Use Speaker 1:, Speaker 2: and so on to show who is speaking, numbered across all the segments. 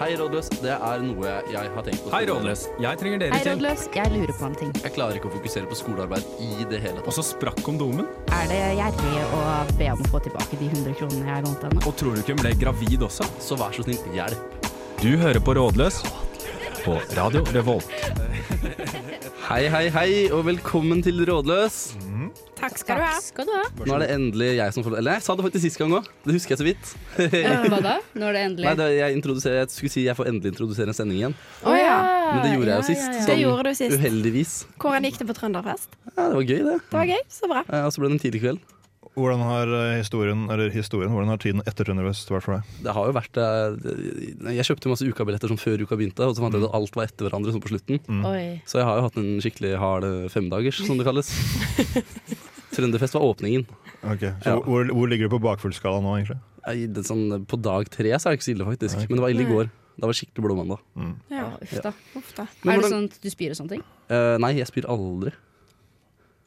Speaker 1: Hei, rådløs. Det er noe jeg har tenkt på.
Speaker 2: Hei, Rådløs. Jeg trenger
Speaker 3: Hei,
Speaker 2: dere til.
Speaker 3: rådløs. Jeg lurer på en ting.
Speaker 1: Jeg klarer ikke å fokusere på skolearbeid i det hele
Speaker 2: Og
Speaker 1: tatt.
Speaker 2: så sprakk kondomen.
Speaker 3: Er det gjerrig å be om å få tilbake de 100 kronene jeg har lånt henne?
Speaker 2: Og tror du ikke hun ble gravid også?
Speaker 1: Så vær så snill, hjelp.
Speaker 2: Du hører på Rådløs på Radio Revolt.
Speaker 1: Hei, hei, hei, og velkommen til Rådløs.
Speaker 4: Mm,
Speaker 3: Takk skal du ha. Skal du ha.
Speaker 1: Nå er det endelig jeg som får Eller jeg sa det faktisk sist gang òg. Det husker jeg så vidt.
Speaker 5: Eh, Hva da? Når det endelig
Speaker 1: Nei, det, jeg, introduserer- jeg skulle si jeg får endelig introdusere en sending igjen.
Speaker 5: Å ja.
Speaker 1: Men det gjorde jeg jo sist. sånn
Speaker 4: Det gjorde du sist.
Speaker 1: Uheldigvis.
Speaker 4: Hvordan gikk det på Trønderfest?
Speaker 1: Ja, det var gøy, det.
Speaker 4: Det var gøy. Så bra.
Speaker 1: Eh, Og så ble det en tidlig kveld.
Speaker 6: Hvordan har eh, historien, eller historien, hvordan har tiden etter Trønderfest vært for deg?
Speaker 1: Det har jo vært eh, Jeg kjøpte masse ukabilletter sånn før uka begynte, og så fant jeg ut at alt var etter hverandre sånn på slutten.
Speaker 5: Oi.
Speaker 1: Så jeg har jo hatt en skikkelig hard eh, femdagers, som det kalles. Trønderfest var åpningen.
Speaker 6: Ok,
Speaker 1: Ja.
Speaker 6: så hvor, hvor ligger du på bakfullskala nå, egentlig?
Speaker 1: Nei, det er sånn, på dag tre så er det ikke så ille, faktisk. Men det var ille i går. Det var skikkelig blå mandag.
Speaker 4: Ja.
Speaker 5: Ja, uff da.
Speaker 4: Uff da.
Speaker 1: Men
Speaker 5: Er det
Speaker 1: hvordan-
Speaker 5: sånn at du spyr og sånne ting?
Speaker 1: Eh, nei, jeg spyr aldri.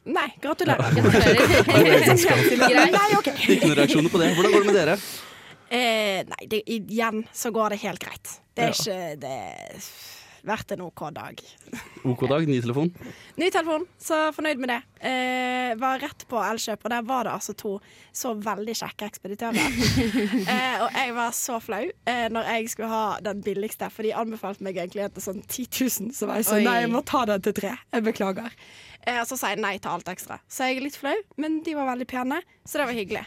Speaker 4: Nei, gratulerer.
Speaker 5: Greit.
Speaker 4: Nei, OK.
Speaker 1: Ikke noen reaksjoner på det. Hvordan går det med dere?
Speaker 4: Eh, nei, det, igjen så går det helt greit. Det er ikke det vært en OK dag.
Speaker 1: OK dag, ny telefon.
Speaker 4: Ny telefon, så fornøyd med det. Eh, var rett på Elkjøp, og der var det altså to så veldig kjekke ekspeditører. eh, og jeg var så flau eh, når jeg skulle ha den billigste, for de anbefalte meg egentlig en til sånn 10 000, så var jeg
Speaker 5: Oi.
Speaker 4: sånn nei, jeg må ta den til tre. Jeg beklager. Eh, og så sa jeg nei til alt ekstra. Så jeg er litt flau, men de var veldig pene, så det var hyggelig.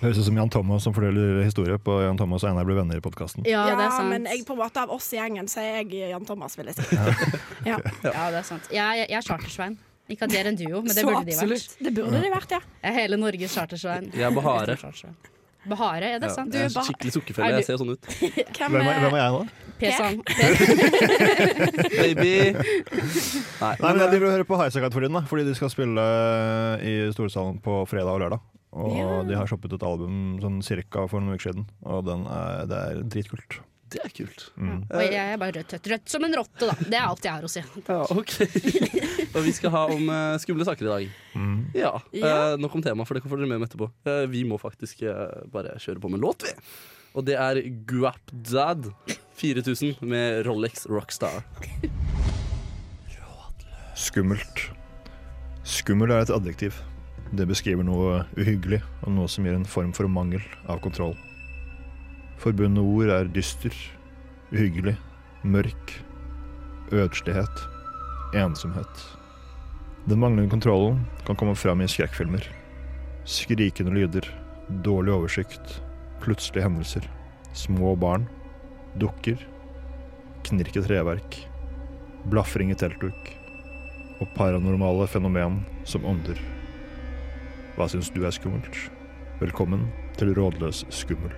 Speaker 6: Høres ut som Jan Thomas som forteller historie på Jan Thomas og Einar blir venner i podkasten.
Speaker 5: Ja, det er sant.
Speaker 4: men jeg, på en måte av oss i gjengen, så er jeg Jan Thomas, vil jeg si. Ja.
Speaker 5: Ja, det er sant. Jeg, jeg er chartersvein. Ikke at de er en duo, men det
Speaker 4: Så
Speaker 5: burde de vært.
Speaker 4: absolutt. Det burde de vært, ja.
Speaker 5: Jeg er hele Norges chartersvein.
Speaker 1: Jeg er Bahare.
Speaker 5: Chartersvein. Bahare, ja det er sant.
Speaker 1: jeg er
Speaker 4: bare-
Speaker 1: skikkelig
Speaker 5: Er
Speaker 1: sukkerfelle.
Speaker 5: du-
Speaker 1: Jeg ser sånn ut.
Speaker 4: Hvem,
Speaker 6: Hvem er,
Speaker 4: eh,
Speaker 6: hvem er jeg nå?
Speaker 5: P-sang.
Speaker 1: Baby! Nei,
Speaker 6: Nei, men
Speaker 1: men, eh,
Speaker 6: Jeg driver og hører på Highasakite for tiden, da, fordi de skal spille eh, i Storsalen på fredag og lørdag. Og de har shoppet et album sånn cirka for noen uker siden, og den er, det er dritkult.
Speaker 1: det er kult.
Speaker 6: Mm.
Speaker 5: Og jeg er bare rødt, rødt, rødt som en rotte, da. Det er alt jeg har å si.
Speaker 1: Ja, ok. Og vi skal ha om eh, skumle saker i dag.
Speaker 6: Mm.
Speaker 1: Ja. eh, nok om temaet, for det får dere med om etterpå. Eh, vi må faktisk eh, bare kjøre på med en låt, vi. Og det er Guapdad 4000 med Rolex Rockstar.
Speaker 6: Skummelt. Skummel er et adjektiv. Det beskriver noe uhyggelig og noe som gir en form for mangel av kontroll. Forbundne ord er dyster, uhyggelig, mørk, ødslighet, ensomhet. Den manglende kontrollen kan komme fram i skrekkfilmer. Skrikende lyder, dårlig oversikt, plutselige hendelser, små barn, dukker, knirket treverk, blafring i teltduk og paranormale fenomen som ånder. Hva syns du er skummelt? Velkommen til Rådløs skummel.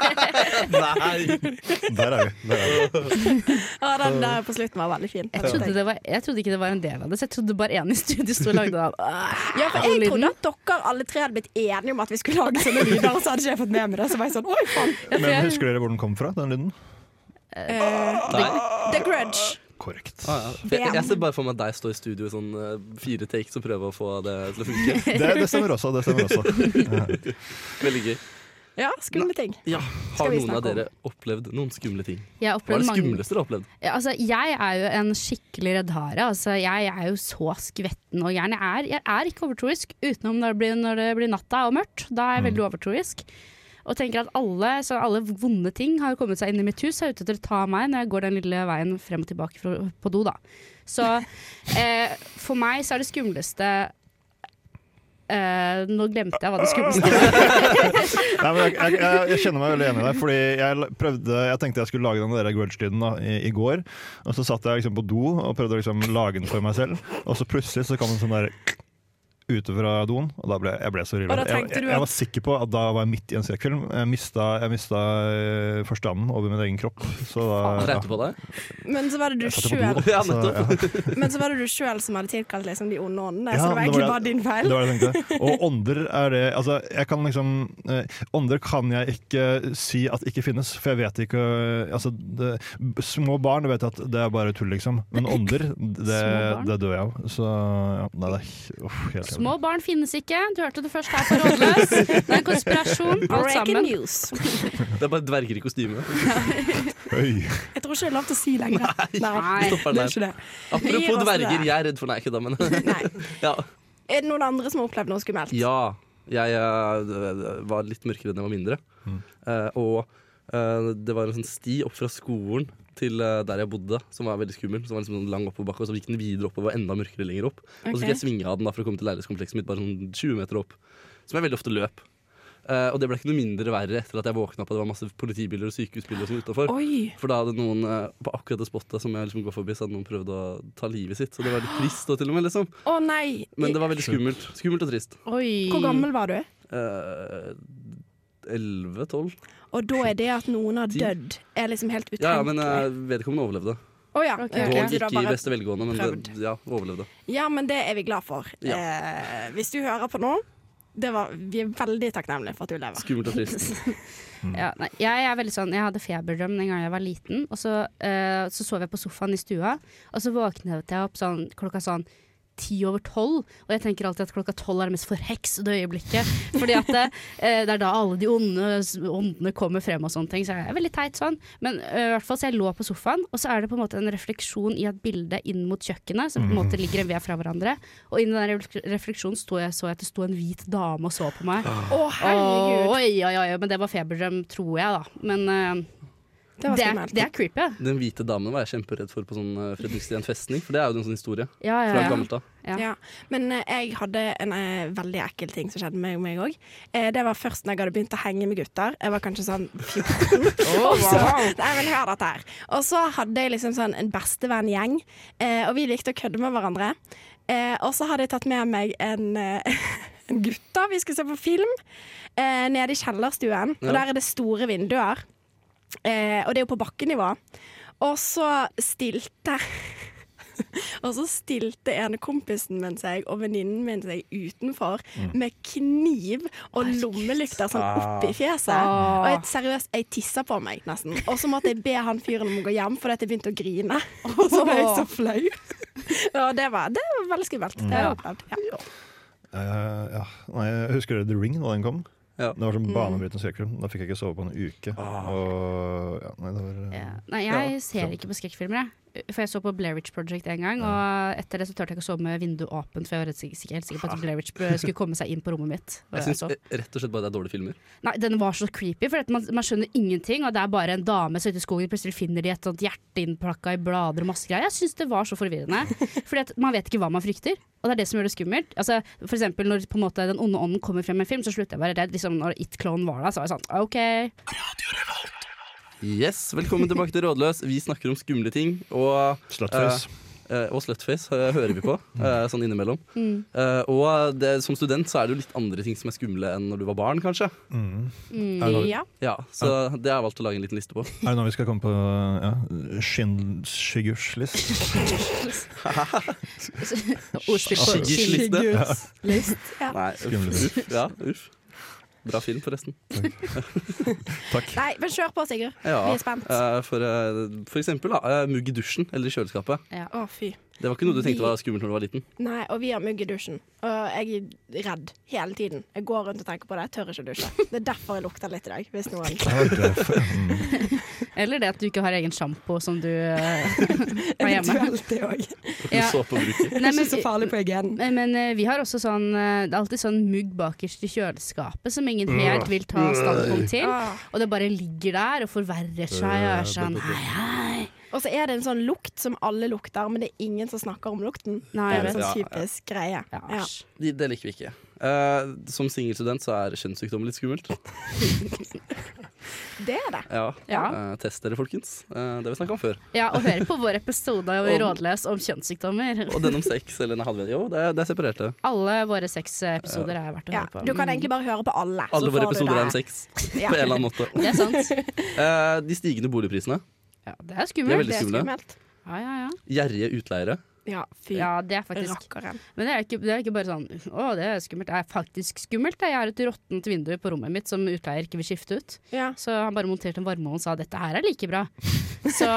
Speaker 1: Nei!
Speaker 6: Der er vi. Der er vi.
Speaker 4: Å, den der på slutten var veldig fin.
Speaker 5: Jeg trodde, det var, jeg trodde ikke det var en del av det, så jeg trodde bare én i studio sto og lagde det. av.
Speaker 4: Ja, for jeg
Speaker 5: Lyden.
Speaker 4: trodde at dere alle tre hadde blitt enige om at vi skulle lage sånne lyder, og så hadde ikke jeg fått med meg det. Så var jeg sånn, oi faen.
Speaker 6: Men husker dere hvor den kom fra, den lyden?
Speaker 4: The Grudge.
Speaker 6: Korrekt.
Speaker 1: Ah, ja. jeg, jeg ser bare for meg deg stå i studio i sånn eh, fire takes og prøve å få det til å funke.
Speaker 6: Det, det stemmer også. det stemmer også.
Speaker 1: Veldig gøy.
Speaker 4: Ja, skumle ting.
Speaker 1: Ja,
Speaker 4: Skal
Speaker 1: Har
Speaker 4: vi
Speaker 1: noen av
Speaker 4: snakke om-
Speaker 1: dere opplevd noen skumle ting? Hva
Speaker 5: Jeg
Speaker 1: er
Speaker 5: opplevde
Speaker 1: det
Speaker 5: mange
Speaker 1: skumleste dere har opplevd?
Speaker 5: Ja, altså, jeg er jo en skikkelig reddhare. Altså, jeg er jo så skvetten og gæren. Jeg, er- jeg er ikke overtroisk utenom når det, blir, når det blir natta og mørkt. Da er jeg
Speaker 1: Mm.
Speaker 5: veldig overtroisk. Og tenker at alle, så alle vonde ting har jo kommet seg inn i mitt hus og er ute etter å ta meg når jeg går den lille veien frem og tilbake fra, på do. Da. Så eh, for meg så er det skumleste eh, Nå glemte jeg hva det skumleste var.
Speaker 6: Nei, men jeg, jeg, jeg, jeg kjenner meg veldig enig i deg. Fordi jeg, l- prøvde, jeg tenkte jeg skulle lage den der grudge-lyden da, i, i går. Og så satt jeg liksom på do og prøvde å liksom lage den for meg selv. Og så plutselig så kom en sånn der ute fra doen, og da ble jeg ble så
Speaker 4: Og
Speaker 6: rilla.
Speaker 4: da
Speaker 6: Jeg,
Speaker 4: tenkte
Speaker 6: jeg,
Speaker 4: du
Speaker 6: jeg
Speaker 4: at-
Speaker 6: var sikker på at da var jeg midt i en skrekkfilm. Jeg mista, jeg mista eh, forstanden over min egen kropp. Så
Speaker 1: Hva
Speaker 6: da ja.
Speaker 1: Dreit du på deg?
Speaker 4: Men så var det du
Speaker 6: satt på
Speaker 4: sjøl
Speaker 6: do,
Speaker 1: Ja,
Speaker 6: så,
Speaker 1: nettopp.
Speaker 4: Men så var det du selv som hadde tilkalt liksom, de onde åndene,
Speaker 6: Ja,
Speaker 4: så det var
Speaker 6: det
Speaker 4: egentlig
Speaker 6: var
Speaker 4: bare
Speaker 6: det-
Speaker 4: din
Speaker 6: Det
Speaker 4: feil.
Speaker 6: var det jeg tenkte. Og ånder er det Altså, jeg kan liksom eh, Ånder kan jeg ikke si at ikke finnes, for jeg vet ikke eh, Altså, det, b- små barn vet jeg at det er bare tull, liksom. Men ånder, det,
Speaker 5: Små barn?
Speaker 6: det dør jeg av. Så ja, nei, det er h- uff, helt
Speaker 5: Små barn finnes ikke. Du hørte det først her på Rådløs. Det er en konspirasjon, alt
Speaker 4: Breaking
Speaker 5: sammen.
Speaker 4: news.
Speaker 1: Det er bare dverger i kostyme.
Speaker 6: Oi.
Speaker 4: Jeg tror ikke det er lov til å si lenger. Nei,
Speaker 1: Vi stopper den
Speaker 4: det er
Speaker 1: der.
Speaker 4: ikke det. Vi gir
Speaker 1: Apropos
Speaker 4: oss
Speaker 1: dverger,
Speaker 4: det.
Speaker 1: jeg er redd for Nei, ikke da, men
Speaker 4: Nei.
Speaker 1: ja.
Speaker 4: Er det noen andre som har opplevd noe skummelt?
Speaker 1: ja. Jeg eh, d- d- var litt mørkere da jeg var mindre. Eh, og eh, det var en sånn sti opp fra skolen til eh, der jeg bodde, som var veldig skummel. Som var liksom sånn lang oppoverbakke, og så gikk den videre opp og var enda mørkere lenger opp. Og så
Speaker 4: Ok.
Speaker 1: fikk jeg svinge av den da for å komme til leilighetskomplekset mitt, bare sånn 20 meter opp. Som jeg veldig ofte løp. Eh, og det ble ikke noe mindre verre etter at jeg våkna på at det var masse politibiler og sykehusbiler og sånn utafor.
Speaker 4: Oi.
Speaker 1: For da hadde noen eh, på akkurat det spottet som jeg liksom går forbi, så hadde noen prøvd å ta livet sitt. Så det var litt trist da, til og med, liksom.
Speaker 4: Å nei.
Speaker 1: Men det var veldig skummelt. Skummelt og trist.
Speaker 5: Oi.
Speaker 4: Hvor gammel var du?
Speaker 1: Eh, 11-12?
Speaker 4: Og da er det at noen har dødd, er liksom helt utenkelig.
Speaker 1: Ja, ja, men eh, vedkommende overlevde.
Speaker 4: Å ja.
Speaker 5: Ok.
Speaker 4: ok,
Speaker 1: Dog
Speaker 4: så du har
Speaker 1: ikke i
Speaker 4: bare-
Speaker 1: beste velgående, men det,
Speaker 4: prøvd.
Speaker 1: ja, overlevde.
Speaker 4: Ja, men det er vi glad for.
Speaker 1: Ja.
Speaker 4: Eh, hvis du hører på nå, det var, vi er veldig takknemlige for at du lever.
Speaker 1: Skummelt og trist.
Speaker 5: Ja, nei, jeg er veldig sånn, jeg hadde feberdrøm den gangen jeg var liten, og så, eh, så sov jeg på sofaen i stua, og så våknet jeg opp sånn, klokka sånn ti over tolv, og jeg tenker alltid at klokka tolv er det mest forheksede øyeblikket, fordi at det, eh, det er da alle de onde s- åndene kommer frem og sånne ting, så jeg er veldig teit sånn, men eh, i hvert fall så jeg lå på sofaen, og så er det på en måte en refleksjon i et bilde inn mot kjøkkenet, som på en måte ligger en ved fra hverandre, og innen den refleks- refleksjonen sto jeg, så jeg at det sto en hvit dame og så på meg,
Speaker 4: Å, herregud.
Speaker 5: Oi, oi, oi, men det var feberdrøm, tror jeg, da. Men eh,
Speaker 4: Det var
Speaker 5: det, er,
Speaker 4: skummelt.
Speaker 5: det er creepy. ja.
Speaker 1: Den hvite damen var jeg kjemperedd for på sånn eh, Fredrikstien festning, for det er jo en sånn historie.
Speaker 5: Ja, ja,
Speaker 1: Fra
Speaker 5: ja.
Speaker 1: gammelt av.
Speaker 5: Ja.
Speaker 4: Ja. Men eh, jeg hadde en eh, veldig ekkel ting som skjedde med meg òg. Eh, det var først når jeg hadde begynt å henge med gutter. Jeg var kanskje sånn 14. Og så- Nei, men hør dette her. Og så hadde jeg liksom sånn en bestevenngjeng, eh, og vi likte å kødde med hverandre. Eh, og så hadde jeg tatt med meg en, eh, en gutt, da. Vi skulle se på film eh, nede i kjellerstuen. Og
Speaker 1: Ja.
Speaker 4: der er det store vinduer. Eh, og det er jo på bakkenivå. Og så stilte Og så stilte ene kompisen min seg og venninnen min seg utenfor med kniv og lommelykter sånn opp i fjeset.
Speaker 5: Ah.
Speaker 4: Og jeg, seriøst, jeg tissa på meg nesten. Og så måtte jeg be han fyren om å gå hjem fordi at jeg begynte å grine. Og så ble jeg så flau. Ja, det var, det var veldig skummelt. Det har jeg opplevd. Ja.
Speaker 6: Eh, ja. Nei, jeg husker The Ring da den kom.
Speaker 1: Ja.
Speaker 6: Det var
Speaker 5: Mm.
Speaker 6: sånn banebrytende skrekkfilm. Da fikk jeg ikke sove på en uke. Og ja, nei, det var eh,
Speaker 5: Ja. Nei, jeg ser ikke på skrekkfilmer, jeg. For jeg så på Blair Witch Project en gang, og etter det så turte jeg ikke å sove med vinduet åpent, for jeg var redd- sikker, helt sikker på at Blair Witch eh, skulle komme seg inn på rommet mitt. Og
Speaker 1: Jeg syns
Speaker 5: sov.
Speaker 1: rett og slett bare det er dårlige filmer.
Speaker 5: Nei, den var så creepy, for at man, man skjønner ingenting, og det er bare en dame som ute i skogen plutselig finner de et sånt hjerte innplakka i blader og masse greier. Jeg syns det var så forvirrende. Fordi at man vet ikke hva man frykter, og det er det som gjør det skummelt. Altså, for eksempel når på en måte, den onde ånden kommer frem i en film, så slutter jeg å være redd. Liksom, når It Clone var der, så var jeg sånn OK.
Speaker 1: Yes, Velkommen tilbake til Rådløs. Vi snakker om skumle ting. Og
Speaker 6: Slutface.
Speaker 1: Eh, og slutface eh, hører vi på, eh, sånn innimellom.
Speaker 4: Mm.
Speaker 1: Eh, og det, som student så er det jo litt andre ting som er skumle enn når du var barn, kanskje.
Speaker 5: mm,
Speaker 6: Mm. Er det noe-
Speaker 4: Ja.
Speaker 1: Ja, Så det har jeg valgt å lage en liten liste på.
Speaker 6: Er det nå vi skal komme på ja, Schindlers list?
Speaker 5: Ordspill på
Speaker 1: Skiggers
Speaker 5: chill.
Speaker 1: liste.
Speaker 5: List.
Speaker 4: Ja.
Speaker 1: Nei,
Speaker 6: Skumle
Speaker 1: uff, uff, ja, uff. Bra film, forresten.
Speaker 6: Takk.
Speaker 4: Nei, men kjør på, Sigurd.
Speaker 1: Ja,
Speaker 4: Vi er spent. Å,
Speaker 1: eh, for, eh, for eksempel da, eh, mugg i dusjen eller i kjøleskapet.
Speaker 4: fy.
Speaker 1: Det var ikke noe du
Speaker 4: Vi-
Speaker 1: tenkte var skummelt når du var liten.
Speaker 4: Nei, og vi har mugg i dusjen. Og jeg er redd hele tiden. Jeg går rundt og tenker på det. Jeg tør ikke å dusje. Det er derfor jeg lukter litt i dag. Hvis noen
Speaker 6: Det var derfor, mm.
Speaker 5: Eller det at du ikke har egen sjampo som du eh, har hjemme.
Speaker 4: Eventuelt det òg.
Speaker 1: Ja.
Speaker 5: Ja.
Speaker 1: Såpebruker.
Speaker 4: Det
Speaker 5: Nei,
Speaker 4: er
Speaker 5: men-
Speaker 4: ikke så farlig på hygienen.
Speaker 5: Men, men eh, vi har også sånn eh, Det er alltid sånn mugg bakerst i kjøleskapet som ingen helt vil ta standpunkt til.
Speaker 4: Ah.
Speaker 5: Og det bare ligger der og forverrer seg og er sånn hei, hei.
Speaker 4: Og så er det en sånn lukt som alle lukter, men det er ingen som snakker om lukten.
Speaker 5: Nei, jeg
Speaker 4: det er en
Speaker 1: vet.
Speaker 4: sånn
Speaker 1: Ja,
Speaker 4: typisk greie.
Speaker 5: Ja,
Speaker 4: Ja.
Speaker 5: æsj.
Speaker 1: De- Det liker vi ikke. Eh, som singelstudent så er kjønnssykdommer litt skummelt.
Speaker 4: Det er det.
Speaker 1: Ja,
Speaker 5: Ja.
Speaker 1: Eh, Test dere, folkens. Eh, det har vi snakka om før.
Speaker 5: ja, og hør på vår episode av
Speaker 1: Om-
Speaker 5: Rådløs om kjønnssykdommer.
Speaker 1: Og den om sex eller en halvvenn. Jo, det er, det er separert, det.
Speaker 5: Alle våre seks episoder er verdt å
Speaker 4: Ja.
Speaker 5: høre på.
Speaker 4: Du kan egentlig bare høre på alle. så
Speaker 1: Alle våre
Speaker 4: får du
Speaker 1: episoder
Speaker 4: det.
Speaker 1: er om sex.
Speaker 4: Ja.
Speaker 1: På en eller annen måte.
Speaker 5: Mm. Det er sant.
Speaker 1: Eh, de stigende boligprisene.
Speaker 5: Ja, det er
Speaker 1: Det er
Speaker 5: skummelt.
Speaker 1: veldig
Speaker 4: Det er
Speaker 1: skummelt.
Speaker 4: skummelt.
Speaker 5: Ja, ja, ja.
Speaker 1: Gjerrige utleiere.
Speaker 4: Ja, fy
Speaker 5: Ja, det er faktisk
Speaker 4: rakkeren.
Speaker 5: Men det er, ikke, det er ikke bare sånn Å, det er skummelt. Det er faktisk skummelt. da. Jeg har et råttent vindu på rommet mitt som utleier ikke vil skifte ut.
Speaker 4: Ja.
Speaker 5: Så han bare monterte en varmeovn og sa dette her er like bra. Så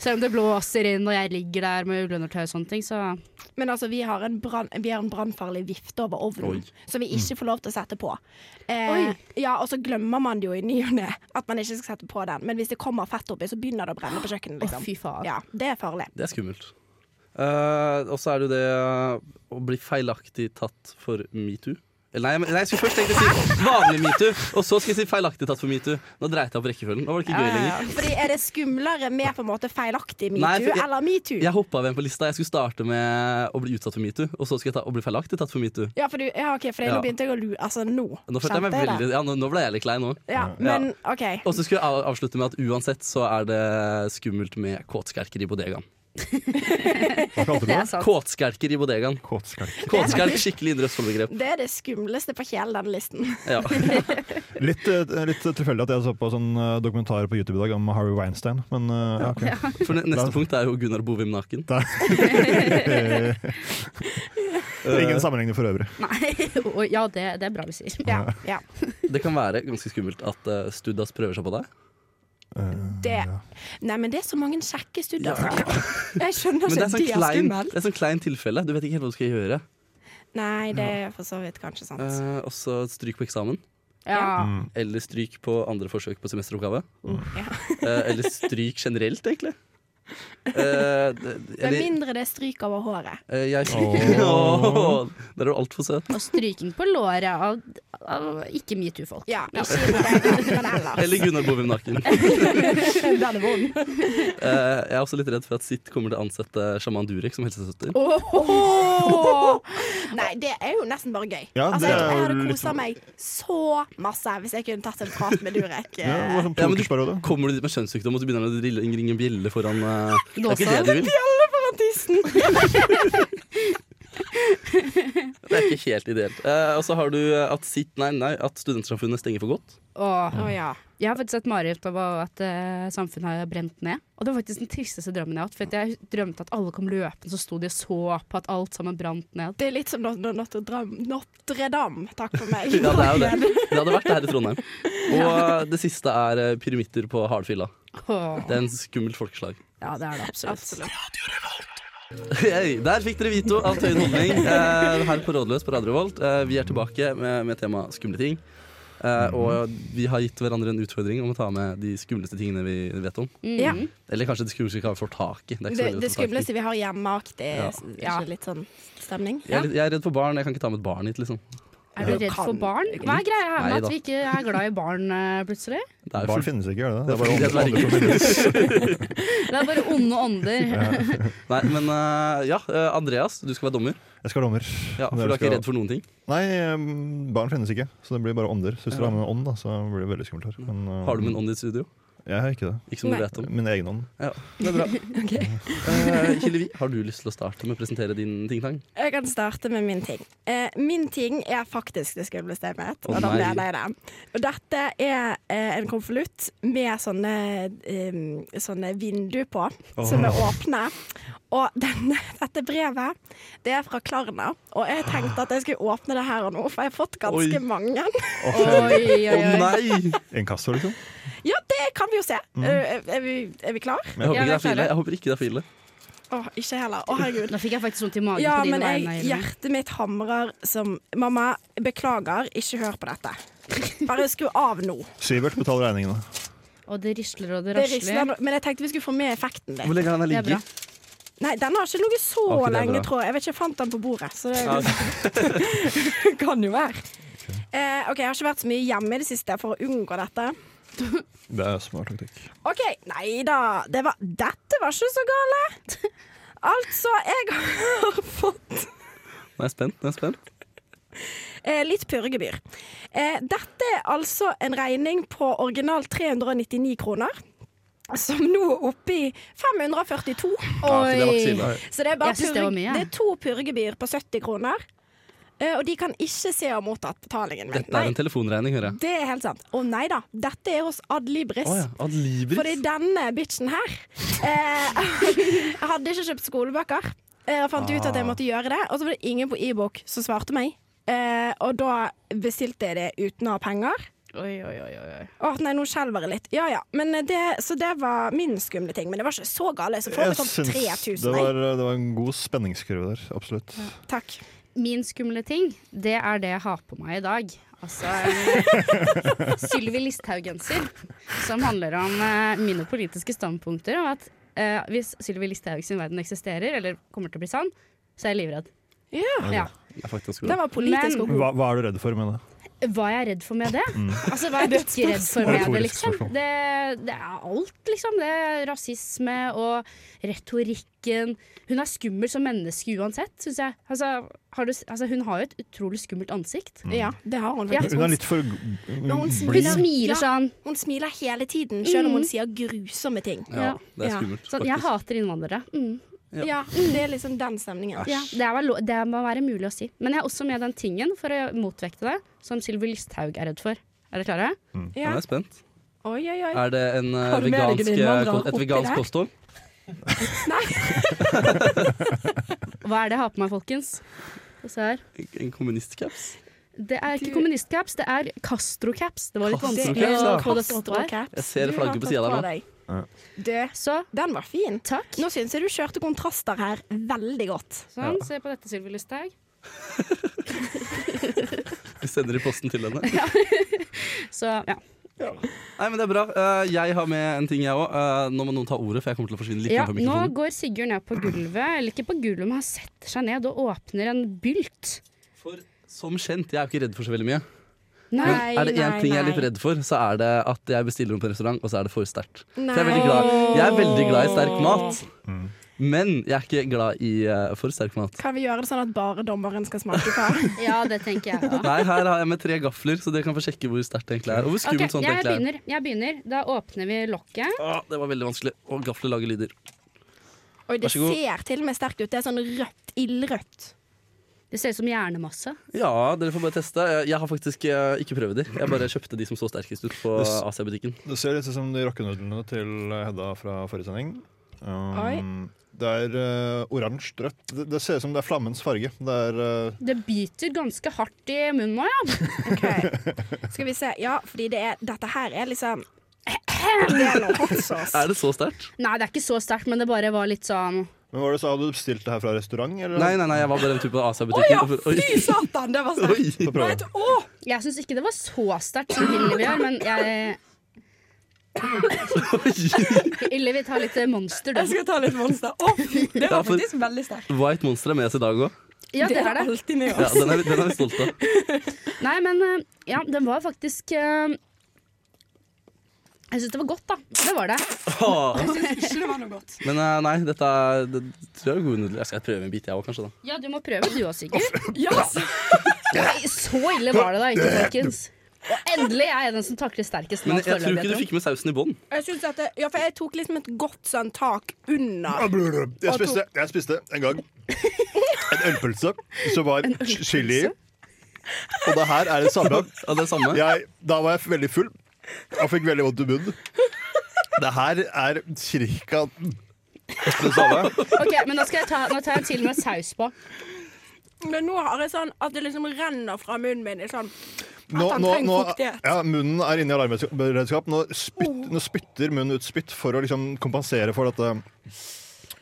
Speaker 5: selv om det blåser inn og jeg ligger der med ullundertøy og sånne ting, så
Speaker 4: Men altså, vi har en brann- vi har en brannfarlig vifte over ovnen
Speaker 1: Oi.
Speaker 4: som vi ikke får lov til å sette på. Eh,
Speaker 5: Oi.
Speaker 4: ja, Og så glemmer man det jo i ny og ne at man ikke skal sette på den. Men hvis det kommer fett oppi, så begynner det å brenne på
Speaker 5: Å,
Speaker 4: kjøkkenet. Liksom.
Speaker 5: fy faen.
Speaker 4: Ja, Det er farlig.
Speaker 1: Det er skummelt. Eh, og så er det jo det å bli feilaktig tatt for metoo. Eller nei, men- nei, jeg skulle først tenke å si vanlig metoo, og så skal jeg si feilaktig tatt for metoo. Nå dreit jeg opp rekkefølgen. Nå var det ikke gøy lenger.
Speaker 4: Fordi Er det skumlere med på en måte feilaktig metoo
Speaker 1: Nei, for jeg-
Speaker 4: eller metoo?
Speaker 1: Jeg hoppa over en på lista. Jeg skulle starte med å bli utsatt for metoo, og så skulle jeg ta, å bli feilaktig tatt for metoo.
Speaker 4: Ja, for, du, ja, ok, for
Speaker 1: Ja.
Speaker 4: nå begynte jeg å lure Altså, nå.
Speaker 1: Nå følte jeg meg
Speaker 4: kjente
Speaker 1: veldig Ja, nå, nå ble jeg litt klein nå.
Speaker 4: Ja, men OK.
Speaker 1: Og så skulle jeg av- avslutte med at uansett så er det skummelt med kåtskerker i bodegaen.
Speaker 6: Hva kalte
Speaker 5: Det
Speaker 6: du det?
Speaker 5: er sant.
Speaker 1: Kåtskerker i bodegaen.
Speaker 6: Kåtskalk.
Speaker 1: Kåtskerk, skikkelig indre Østfold-begrep.
Speaker 4: Det er det skumleste på hele denne listen.
Speaker 1: Ja.
Speaker 6: Litt, eh, litt tilfeldig at jeg så på sånn eh, dokumentar på YouTube i dag om Harry Weinstein, men eh, ja, ok.
Speaker 1: For ne- neste punkt er jo Gunnar Bovim naken.
Speaker 6: Ingen sammenligning for øvrig.
Speaker 5: Nei. Og ja, det, det er bra vi sier.
Speaker 4: Ja, ja.
Speaker 1: Det kan være ganske skummelt at eh, Studas prøver seg på deg.
Speaker 6: Eh,
Speaker 4: Det. Nei, men det er så mange kjekke studier. Jeg skjønner
Speaker 1: Men det
Speaker 4: ikke
Speaker 1: er
Speaker 4: at
Speaker 1: sånn
Speaker 4: de er
Speaker 1: klein,
Speaker 4: skummelt.
Speaker 1: det er sånn klein tilfelle. Du vet ikke helt hva du skal gjøre.
Speaker 4: Nei, det er for så vidt kanskje sant.
Speaker 1: Eh, og så stryk på eksamen.
Speaker 5: Ja.
Speaker 1: Eller stryk på andre forsøk på semesteroppgave.
Speaker 4: Ja.
Speaker 1: Eh, eller stryk generelt, egentlig. Eh, det-
Speaker 4: Med
Speaker 1: eller
Speaker 4: mindre det er stryk over håret.
Speaker 1: eh, jeg stryker
Speaker 6: Åh.
Speaker 1: Der er du altfor søt.
Speaker 5: Og stryking på låret av, av ikke metoo-folk.
Speaker 4: Ja, ikke det, men ellers.
Speaker 1: Eller Gunnar Bovim naken.
Speaker 4: Den er vond.
Speaker 1: Eh, jeg er også litt redd for at Sitt kommer til å ansette sjaman Durek som helsesøster.
Speaker 4: Nei, det er jo nesten bare gøy.
Speaker 6: Ja,
Speaker 4: altså, jeg,
Speaker 6: det er
Speaker 4: jeg
Speaker 6: jo
Speaker 4: hadde
Speaker 6: litt
Speaker 4: kosa
Speaker 6: sånn-
Speaker 4: meg så masse hvis jeg kunne tatt en prat med Durek. eh,
Speaker 6: Ja, det var sånn
Speaker 1: Ja, men du-
Speaker 6: tokersperiode.
Speaker 1: Kommer du dit med kjønnssykdom og så begynner han å drille- ringe en bjelle foran eh, Det er
Speaker 5: Låsa.
Speaker 1: ikke det du vil.
Speaker 4: Foran tissen.
Speaker 1: Det er ikke helt ideelt. Eh, og så har du at, sitt, nei, nei, at studentsamfunnet stenger for godt.
Speaker 5: Og
Speaker 4: Å ja.
Speaker 5: jeg har faktisk sett mareritt av at eh, samfunnet har brent ned. Og det var faktisk den tristeste drømmen jeg har hatt. For at jeg drømte at alle kom løpende, så sto de og så på at alt sammen brant ned.
Speaker 4: Det er litt som Not- Not- Notre Dame. Notre Dame. Takk for meg.
Speaker 1: Ja, det er jo det. Det hadde vært det her i Trondheim. Og eh, det siste er eh, pyramitter på Hardfilla.
Speaker 5: Åh.
Speaker 1: Det er en skummelt folkeslag.
Speaker 5: Ja, det er det absolutt.
Speaker 1: Hei, der fikk dere Vito av Tøyen Holdning eh, her på Rådløs på Radio Revolt. Eh, vi er tilbake med, med tema skumle ting. Eh, og vi har gitt hverandre en utfordring om å ta med de skumleste tingene vi vet om.
Speaker 5: mm.
Speaker 4: Ja.
Speaker 1: Eller kanskje det skumleste vi ikke har fått tak i. Det, er ikke så veldig
Speaker 4: Det, det
Speaker 1: å få tak i.
Speaker 4: skumleste vi har hjemmeaktig.
Speaker 1: Ja.
Speaker 4: Ja. Litt sånn stemning.
Speaker 1: Jeg er, litt, jeg er redd for barn. Jeg kan ikke ta med et barn hit, liksom.
Speaker 5: Er du redd for barn? Hva er greia her
Speaker 1: Nei
Speaker 5: med
Speaker 1: da.
Speaker 5: at vi ikke er glad i barn eh, plutselig?
Speaker 1: Det er jo
Speaker 6: Barn
Speaker 1: fullt-
Speaker 6: finnes ikke, gjør det det?
Speaker 1: Det er
Speaker 6: Det er
Speaker 1: fordi
Speaker 6: bare
Speaker 1: det er
Speaker 6: andre som finnes.
Speaker 5: Det er bare onde ånder.
Speaker 1: Nei, men eh, ja. eh, Andreas, du skal være dommer.
Speaker 6: Jeg skal ha dommer.
Speaker 1: Ja, for
Speaker 6: Dere
Speaker 1: du er ikke
Speaker 6: skal-
Speaker 1: redd for noen ting.
Speaker 6: Nei, eh, barn finnes ikke, så det blir bare ånder. Så hvis du
Speaker 1: Ja.
Speaker 6: har med en ånd, da, så blir det veldig skummelt her. Men, eh,
Speaker 1: Har du med en ånd i studio?
Speaker 6: Jeg har ikke det.
Speaker 1: Ikke som
Speaker 4: Nei.
Speaker 1: du vet om.
Speaker 6: Min egen ånd.
Speaker 1: Ja, det er bra. Eh, Hillevi, har du lyst til å starte med å presentere din ting-tang?
Speaker 4: Jeg kan starte med min ting. Eh, min ting er faktisk det skumleste jeg vet.
Speaker 1: Å,
Speaker 4: og da
Speaker 1: nei.
Speaker 4: mener jeg det. Og dette er eh, en konvolutt med sånne, em, sånne vindu på, som er åpne. Og denne, dette brevet, det er fra Klarna. Og jeg tenkte at jeg skulle åpne det her og nå, for jeg har fått ganske
Speaker 1: Oi.
Speaker 4: mange.
Speaker 5: Oi, oi,
Speaker 1: Å
Speaker 5: oi.
Speaker 1: nei!
Speaker 6: Inkasso, liksom.
Speaker 4: Ja, det kan vi jo se.
Speaker 1: Mm.
Speaker 4: Eh, Er, vi, er vi klar?
Speaker 1: Jeg håper
Speaker 5: Ja,
Speaker 1: ikke det
Speaker 5: jeg
Speaker 1: er for ille.
Speaker 5: klarer.
Speaker 1: Jeg håper ikke det er for ille.
Speaker 4: Å, ikke heller. Å, herregud.
Speaker 5: Nå fikk jeg faktisk vondt i magen.
Speaker 4: Ja,
Speaker 5: på dine
Speaker 4: men
Speaker 5: vegne,
Speaker 4: jeg,
Speaker 5: Irene.
Speaker 4: hjertet mitt hamrer som Mamma, beklager, ikke hør på dette. Bare skru av nå.
Speaker 6: Sivert betaler regningene.
Speaker 5: Og det risler og det
Speaker 4: Det risler
Speaker 5: rasler.
Speaker 4: nå. Men jeg tenkte vi skulle få med effekten
Speaker 1: Hvor
Speaker 4: litt.
Speaker 1: lenge har den
Speaker 5: Det er bra.
Speaker 1: ligget?
Speaker 4: Nei, den har ikke ligget så
Speaker 1: Ok, det er bra.
Speaker 4: lenge, tror jeg. Jeg vet ikke, jeg fant den på bordet, så det
Speaker 1: Ja.
Speaker 4: kan jo være. Eh, OK, jeg har ikke vært så mye hjemme i det siste for å unngå dette.
Speaker 6: Det er smart taktikk.
Speaker 4: OK, nei da. Det var, dette var ikke så gale. Altså, jeg har fått
Speaker 1: Nå er jeg spent. Nå er jeg spent.
Speaker 4: Eh, litt purregebyr. Eh, dette er altså en regning på original 399 kroner. Som nå er oppe i 542.
Speaker 1: Ja, det var ikke så ille.
Speaker 4: Så det er, bare
Speaker 5: Jeg synes det
Speaker 4: purre-
Speaker 5: var mye.
Speaker 4: det er to purregebyr på 70 kroner. Eh, og de kan ikke se å ha mottatt betalingen min.
Speaker 1: Dette er en
Speaker 4: Nei,
Speaker 1: telefonregning, hører jeg.
Speaker 4: det er helt sant. Å nei da. Dette er hos Adlibris.
Speaker 1: Å ja. Ad
Speaker 4: Fordi
Speaker 1: libris.
Speaker 4: denne bitchen her eh, hadde ikke kjøpt skolebøker. Eh, Jeg fant ut at jeg måtte gjøre det, og så var det ingen på e-bok som svarte meg. Eh, og da bestilte jeg det uten å ha penger.
Speaker 5: Oi, oi, oi, oi.
Speaker 4: Å nei, nå skjelver jeg litt. Ja ja. Men det, så det var min skumle ting. Men det var ikke så gale. Så får
Speaker 6: Jeg
Speaker 4: vi sånn
Speaker 6: syns
Speaker 4: 3000.
Speaker 6: det
Speaker 4: Nei,
Speaker 6: var, det var en god spenningskurve der. Absolutt.
Speaker 4: takk.
Speaker 5: Min skumle ting, det er det jeg har på meg i dag. Altså en Sylvi Listhaug-genser, som handler om eh, mine politiske standpunkter. Og at eh, hvis Sylvi Listhaug sin verden eksisterer, eller kommer til å bli sann, så er jeg livredd. Ja.
Speaker 1: Jeg er faktisk
Speaker 4: Det
Speaker 1: god.
Speaker 4: var politisk og god.
Speaker 6: Hva, hva er du redd for med det?
Speaker 5: Hva er jeg redd for med det? Altså, Hva er jeg ikke redd for med det,
Speaker 6: Mm. Retorisk
Speaker 5: liksom?
Speaker 6: spørsmål.
Speaker 5: Det, det er alt, liksom. Det er rasisme og retorikken. Hun er skummel som menneske uansett, syns jeg. Altså, har du, s- altså, hun har jo et utrolig skummelt ansikt.
Speaker 4: Ja, det har hun
Speaker 5: Ja.
Speaker 4: faktisk.
Speaker 6: Hun er litt for g-
Speaker 4: hun
Speaker 6: blid.
Speaker 5: Hun
Speaker 4: Ja.
Speaker 5: smiler sånn.
Speaker 4: Hun smiler hele tiden, selv om hun sier grusomme ting.
Speaker 1: Ja, det er
Speaker 4: Ja.
Speaker 1: skummelt.
Speaker 5: sånn jeg
Speaker 1: faktisk.
Speaker 5: hater innvandrere. Mm.
Speaker 1: Ja.
Speaker 4: Ja, det er liksom den stemningen.
Speaker 5: Ja, det, er vel lo- det må være mulig å si. Men jeg er også med den tingen, for å motvekte det, som Sylvi Listhaug er redd for. Er dere klare?
Speaker 1: Ja,
Speaker 4: Ja.
Speaker 1: jeg er spent.
Speaker 4: Oi, oi, oi.
Speaker 1: Er det en, eh,
Speaker 4: Har du med deg en
Speaker 1: vegansk,
Speaker 4: innvandrer
Speaker 1: ko- et
Speaker 4: oppi
Speaker 1: vegansk
Speaker 4: der?
Speaker 1: kosthold?
Speaker 5: Hva er det jeg har på meg, folkens? Skal vi se her.
Speaker 1: En kommunistcaps?
Speaker 5: Det er ikke
Speaker 4: Du-
Speaker 5: kommunistcaps, det er Castro-caps. Det var litt
Speaker 1: Castro-caps,
Speaker 5: vanskelig å
Speaker 1: ja.
Speaker 5: få det stått der.
Speaker 1: Jeg ser
Speaker 4: Du
Speaker 1: flagget
Speaker 4: har
Speaker 1: på siden
Speaker 4: tatt
Speaker 1: der nå.
Speaker 4: på deg. Du,
Speaker 5: Så
Speaker 4: den var fin.
Speaker 5: takk.
Speaker 4: Nå syns jeg du kjørte kontraster her veldig godt.
Speaker 5: Sånn, se på dette, Sylvi Listhaug.
Speaker 1: Vi sender i posten til henne.
Speaker 5: Så ja.
Speaker 1: Nei, men det er bra. Eh, jeg har med en ting, jeg òg. nå må noen ta ordet, for jeg kommer til å forsvinne litt
Speaker 5: ja.
Speaker 1: inn på
Speaker 5: Nå
Speaker 1: mikrofonen.
Speaker 5: går Sigurd ned på gulvet, eller ikke på gulvet, men han setter seg ned og åpner en bylt.
Speaker 1: For som kjent, jeg er jo ikke redd for så veldig mye. Men
Speaker 5: Nei.
Speaker 1: er det én
Speaker 4: nei,
Speaker 1: ting jeg er
Speaker 4: nei.
Speaker 1: litt redd for, så er det at jeg bestiller noe på restaurant, og så er det for sterkt. For jeg er
Speaker 4: Nei.
Speaker 1: veldig glad, jeg er veldig glad i sterk mat, men jeg er ikke glad i eh, for sterk mat.
Speaker 4: Kan vi gjøre det sånn at bare dommeren skal smake på?
Speaker 5: Ja, det tenker jeg òg.
Speaker 1: Nei, her har jeg med tre gafler, så dere kan få sjekke hvor sterkt det egentlig er. Og hvor
Speaker 5: Ok,
Speaker 1: skummelt sånn sånt
Speaker 5: jeg
Speaker 1: egentlig er.
Speaker 5: begynner. jeg begynner. Da åpner vi lokket.
Speaker 1: Ah, det var veldig vanskelig. Og gafler lager lyder.
Speaker 4: Oi,
Speaker 1: Vær
Speaker 4: det
Speaker 1: så god.
Speaker 4: ser til og med sterkt ut. Det er sånn rødt, ildrødt.
Speaker 5: Det ser ut som hjernemasse.
Speaker 1: Ja, dere får bare teste. Jeg- Jeg har faktisk eh, ikke prøvd de. Jeg bare kjøpte de som så sterkest ut på
Speaker 6: Det s-
Speaker 1: Asia-butikken.
Speaker 6: Det ser litt ut som de rockenudlene til Hedda fra forrige sending. Um,
Speaker 4: Oi.
Speaker 6: Det er eh, oransje rødt. Det, det ser ut som det er flammens farge. Det er eh,
Speaker 5: Det biter ganske hardt i munnen nå, ja.
Speaker 4: Skal vi se. Ja, fordi det er, dette her er liksom Det er noe hot sauce.
Speaker 1: Er det så sterkt?
Speaker 5: Nei, det er ikke så sterkt, men det bare var litt sånn
Speaker 6: Men hva var det du sa? Hadde du bestilt det her fra restaurant? Eller?
Speaker 1: Nei, nei, nei, jeg var bare en tur på
Speaker 4: Å ja,
Speaker 1: Asia-butikken.
Speaker 4: fy satan, det var sterkt.
Speaker 1: Oi.
Speaker 6: Få prøve.
Speaker 4: Å,
Speaker 5: Jeg syns ikke det var så sterkt som Hillevi gjør, men jeg Hillevi tar litt eh, monster,
Speaker 4: jeg
Speaker 5: du.
Speaker 4: skal ta litt monster. Å, fy, det
Speaker 1: Ja,
Speaker 4: var
Speaker 1: for-
Speaker 4: faktisk veldig sterkt.
Speaker 1: White Monster er med oss i dag òg.
Speaker 5: Ja, det er det.
Speaker 4: alltid med
Speaker 1: Ja, den, er vi- den er vi stolt av.
Speaker 5: Nei, men eh, ja, den var faktisk eh, Jeg syns det var godt, da. Det var det.
Speaker 1: Ah.
Speaker 4: Jeg syns ikke det var noe godt.
Speaker 1: Men eh, nei, dette er, det, tror jeg er gode nudler. Jeg skal prøve en bit, jeg òg, kanskje. da
Speaker 5: Ja, du må prøve du òg, Sigurd.
Speaker 4: Ja, altså.
Speaker 5: Nei, Så ille var det da ikke, folkens. Og endelig er jeg den som takler sterkest
Speaker 1: Men
Speaker 5: mat
Speaker 1: jeg, jeg tror
Speaker 5: foreløpig.
Speaker 1: ikke du
Speaker 5: jeg tror.
Speaker 1: fikk med sausen i bånn.
Speaker 4: Jeg synes at det, ja, for jeg tok liksom et godt sånn tak under.
Speaker 6: Jeg spiste, jeg spiste en gang en ølpølse som var chili i. Og det her er et samlag.
Speaker 1: Ja, det er samme.
Speaker 6: Jeg, da var jeg veldig full. Jeg fikk veldig vondt i munnen. Det her er cirka det samme.
Speaker 5: Ok, men nå, skal jeg ta, nå tar jeg til med saus på.
Speaker 4: Men nå har jeg sånn at det liksom renner fra munnen min i sånn
Speaker 6: Nå,
Speaker 4: At han
Speaker 6: nå,
Speaker 4: trenger
Speaker 6: nå,
Speaker 4: fuktighet. Oh.
Speaker 6: ja, munnen er inne i alarmberedskap. Nå, spytt, nå spytter munnen ut spytt for å liksom kompensere for dette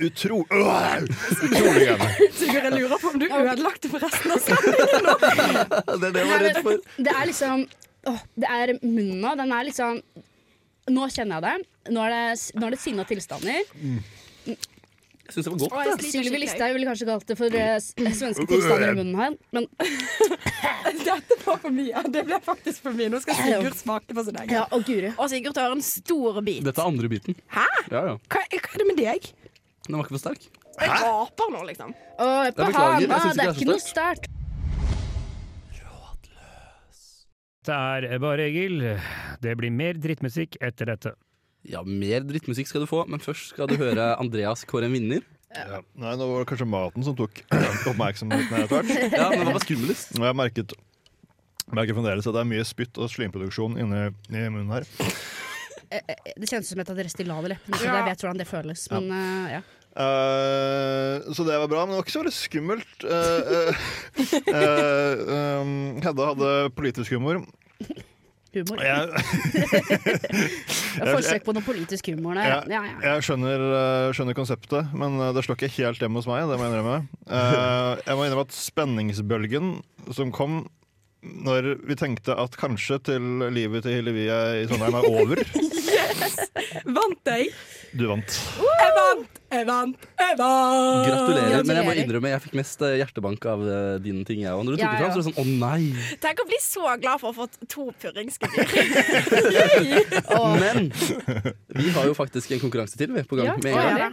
Speaker 6: utro, øh, utrolig greiene.
Speaker 4: Sigurd, jeg lurer på om du ødelagte for resten av seg.
Speaker 1: Det er det jeg
Speaker 5: Nei,
Speaker 1: var redd for.
Speaker 5: men, det er liksom åh, Det er munna. Den er liksom Nå kjenner jeg det. Nå er det, nå er det sinna tilstander.
Speaker 1: Jeg syns det var godt.
Speaker 4: jeg
Speaker 5: Sylvi Listhaug ville kanskje kalt det for eh, s-
Speaker 1: Mm.
Speaker 5: svenske tilstander i munnen her. Men
Speaker 4: Dette var for mye. Det ble faktisk for mye. Nå skal
Speaker 5: Sigurd
Speaker 4: smake på sin egen.
Speaker 5: ja, og guri.
Speaker 4: Og Sigurd tar en stor bit.
Speaker 1: Dette er andre biten.
Speaker 4: Hæ?
Speaker 1: Ja, ja.
Speaker 4: Hva, hva er det med deg?
Speaker 1: Den var ikke for sterk.
Speaker 4: Jeg gaper nå, liksom.
Speaker 5: Åh, på
Speaker 1: beklager, jeg
Speaker 5: hana,
Speaker 1: synes ikke det
Speaker 5: det er
Speaker 1: er
Speaker 5: ikke
Speaker 1: så
Speaker 5: noe sterkt.
Speaker 7: Det er bare Egil. Det blir mer drittmusikk etter dette.
Speaker 1: Ja, Mer drittmusikk skal du få, men først skal du høre Andreas kåre en vinner.
Speaker 6: Ja. Nei, nå var det kanskje maten som tok oppmerksomheten her etter hvert.
Speaker 1: Ja, men Hva var skumlest?
Speaker 6: Og jeg merket, merker fremdeles at det er mye spytt og slimproduksjon inne i munnen her.
Speaker 5: Eh, Det kjennes som et av de restylane leppene, så
Speaker 4: Ja.
Speaker 5: jeg vet hvordan det føles. Men eh, ja.
Speaker 6: Eh, så det var bra, men det var ikke så veldig skummelt. Eh, eh, eh, um, Hedda hadde politisk humor.
Speaker 5: Humor.
Speaker 6: Jeg,
Speaker 5: Det er Forsøk på noe politisk humor der.
Speaker 6: Ja.
Speaker 5: Ja, ja.
Speaker 6: jeg skjønner, eh, skjønner konseptet, men eh, det slår ikke helt hjemme hos meg. Det må jeg innrømme. Eh, jeg må innrømme at spenningsbølgen som kom når vi tenkte at kanskje til livet til Hillevi i Trondheim er over
Speaker 4: Vant jeg?
Speaker 6: Du vant.
Speaker 4: Jeg vant! Jeg vant! Jeg vant!
Speaker 1: Gratulerer. Men jeg må
Speaker 5: Gratulerer.
Speaker 1: innrømme, jeg fikk mest eh, hjertebank av eh, dine ting. Jeg. Og når du tok
Speaker 5: Ja,
Speaker 1: det fram,
Speaker 5: ja.
Speaker 1: så var det sånn å nei.
Speaker 4: Tenk å bli så glad for å ha fått to purringsgebyr.
Speaker 1: Men vi har jo faktisk en konkurranse til vi, på gang.
Speaker 5: Ja,
Speaker 1: med en
Speaker 5: å,
Speaker 1: gang.
Speaker 5: ja.